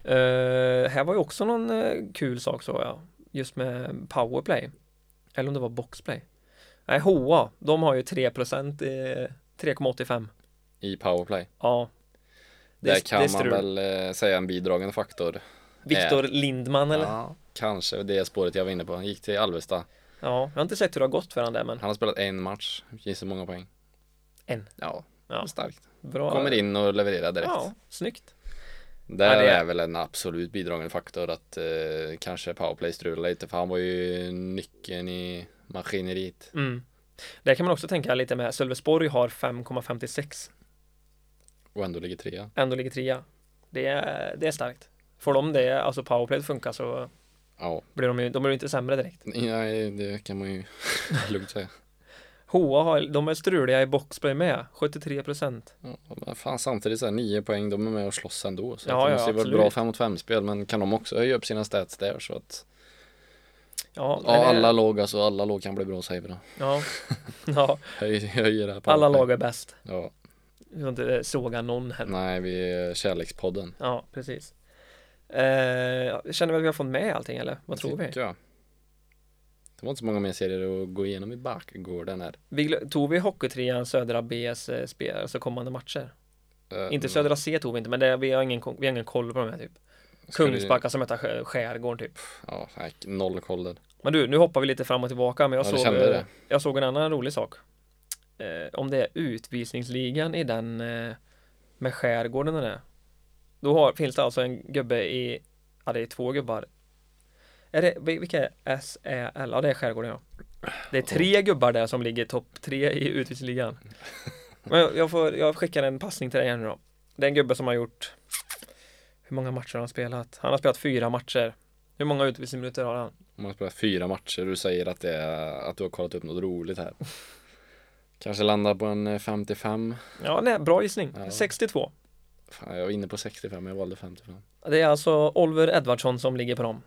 Eh, här var ju också någon eh, kul sak såg jag. Just med powerplay. Eller om det var boxplay. Nej, HA, de har ju eh, 3% i 3,85.
I powerplay.
Ja. Det, är-
Där kan
det är
man
strul.
väl eh, säga en bidragande faktor.
Viktor Lindman eller? Ja.
Ja, kanske det är spåret jag var inne på. Han gick till Alvesta.
jag har inte sett hur det har gått för han där men.
Han har spelat en match, gissa hur många poäng.
En.
Ja,
Ja.
starkt.
Bra.
Kommer in och levererar direkt.
Ja, snyggt.
Där
Ja, det är-
är väl en absolut bidragande faktor att eh, kanske powerplay strular lite för han var ju nyckeln i maskineriet.
Mm. Där kan man också tänka lite med Sölvesborg har 5,56.
Och ändå ligger trea.
ändå ligger trea. Det är, det är starkt. Får de det, alltså powerplay att funka så
Ja,
blir de ju, de blir ju inte sämre direkt.
nej, det kan man ju lugnt säga.
HA har, de är struliga i boxplay med, 73%.
Ja, men fan, samtidigt så här, nio poäng, de är med och slåss ändå. Så
Ja,
att det
ja,
måste ju vara
absolut.
bra fem mot fem spel, men kan de också höja upp sina stats där så att
Ja, men
ja,
det-
alla lag, alltså alla lag kan bli bra säger vi då.
Ja, ja
Höj, höjer det här
alla
powerplay.
lag är bäst.
Ja,
Vi får inte såga någon här.
nej, vi är kärlekspodden.
Ja, precis. Eh, känner vi att vi har fått med allting eller? Vad tror vi?
Tycker jag. Typ, Det var inte så många mer serier att gå igenom i bakgården här.
vi? glö- Tog vi Hockeytrean, Södra Bs eh, spel, alltså kommande matcher?
Eh,
Inte Södra C tog vi inte, men det, vi, har ingen, kon- vi har ingen koll på de här typ.
Ska vi-
Kungsbacka som möter Skär- Skärgården typ.
Ja, nej, noll koll där.
Men du, nu hoppar vi lite fram och tillbaka men jag,
Ja, du
såg, eh,
kände det.
jag såg en annan rolig sak. Eh, om det är utvisningsligan i den eh, med skärgården den är. Då har, finns det alltså en gubbe i, ja det är två gubbar. Är det, vil- vilka är SEL? Ja det är skärgården ja. Det är tre gubbar där som ligger topp tre i utvisningsligan. Men jag, jag, får, jag skickar en passning till dig här nu då. Det är en gubbe som har gjort Hur många matcher har han spelat? Han har spelat fyra matcher. Hur många utvisningsminuter har han?
Om man spelar fyra matcher och du säger att, det är, att du har kollat upp något roligt här. Kanske landar på en eh, 55.
Ja, nej, bra gissning.
Ja.
62.
Fan, jag var inne på 65 men jag valde 55.
Det är alltså Oliver Edvardsson som ligger på dem.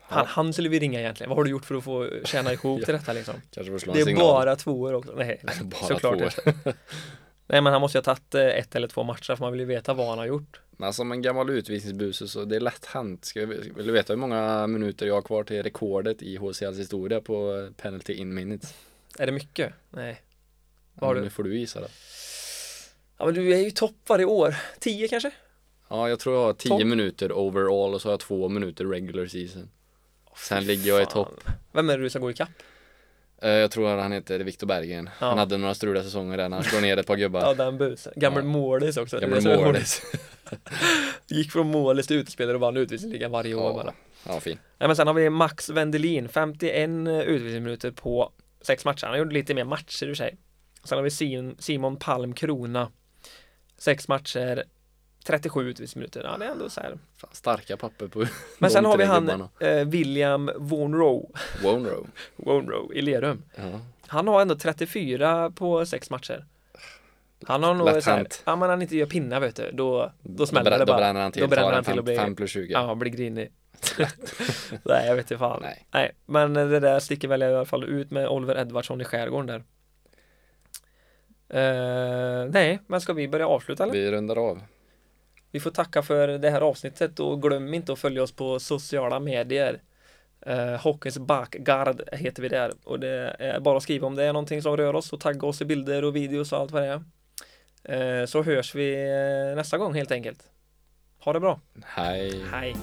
Han,
Ja.
han skulle vi ringa egentligen. Vad har du gjort för att få tjäna ihop till detta liksom?
Kanske får slå
Det
en
är
signal.
bara tvåor också. Nej,
bara
såklart
två.
inte. Nej, men han måste ju ha tagit eh, ett eller två matcher för man vill ju veta vad han har gjort.
Men alltså, som en gammal utvisningsbuse så det är lätt hänt. Ska jag, vill du veta hur många minuter jag har kvar till rekordet i HCLs historia på eh, penalty in minutes?
Är det mycket? Nej. Vad
Ja,
har
men
du?
nu får du gissa det.
Ja, men du är ju topp varje år. Tio kanske?
Ja, jag tror jag har 10
Tolv.
minuter overall och så har jag 2 minuter regular season. Sen
Fy
ligger jag i
fan.
topp.
Vem är det du ska gå ikapp?
Eh, Jag tror han heter Viktor Berggren.
Ja.
Han hade några struliga säsonger där när han slår ner ett par
Ja,
gubbar.
den busen. Gammal
Ja.
målis också. Det är
Gammal
så roligt.
målis.
Gick från målis till utespelare och vann utvisningsligan varje år bara.
Ja, ja, fin.
Nej, men sen har vi Max Wendelin, 51 utvisningsminuter på sex matcher. Han gjorde lite mer matcher i och för sig. Sen har vi Sim- Simon Palm Krona, sex matcher, 37 utvisningsminuter. Ja, det är ändå så här.
Fan, starka papper på
Men
de
sen har vi
tre
han
gubbarna.
eh, William Wonrow,
Wonrow.
Wonrow i Lerum.
Ja.
Han har ändå 34 på sex matcher. Han har nog
Lätt
så här,
hänt.
ja men han inte gör pinnar vet du, då, då smäller
brä-
det bara.
Då bränner han till.
Då bränner
Tar
han till
fem-
och blir-
fem plus 20.
Ja, blir grinig. Nej, jag vet inte fan.
Nej.
Nej, men det där sticker väl i alla fall ut med Oliver Edvardsson i skärgården där. Eh, nej, men ska vi börja avsluta eller?
Vi rundar av.
Vi får tacka för det här avsnittet och glöm inte att följa oss på sociala medier. Uh, Hockeyns bakgard heter vi där och det är bara att skriva om det är någonting som rör oss och tagga oss i bilder och videos och allt vad det är. Eh, så hörs vi eh, nästa gång helt enkelt. Ha det bra.
Hej.
Hej!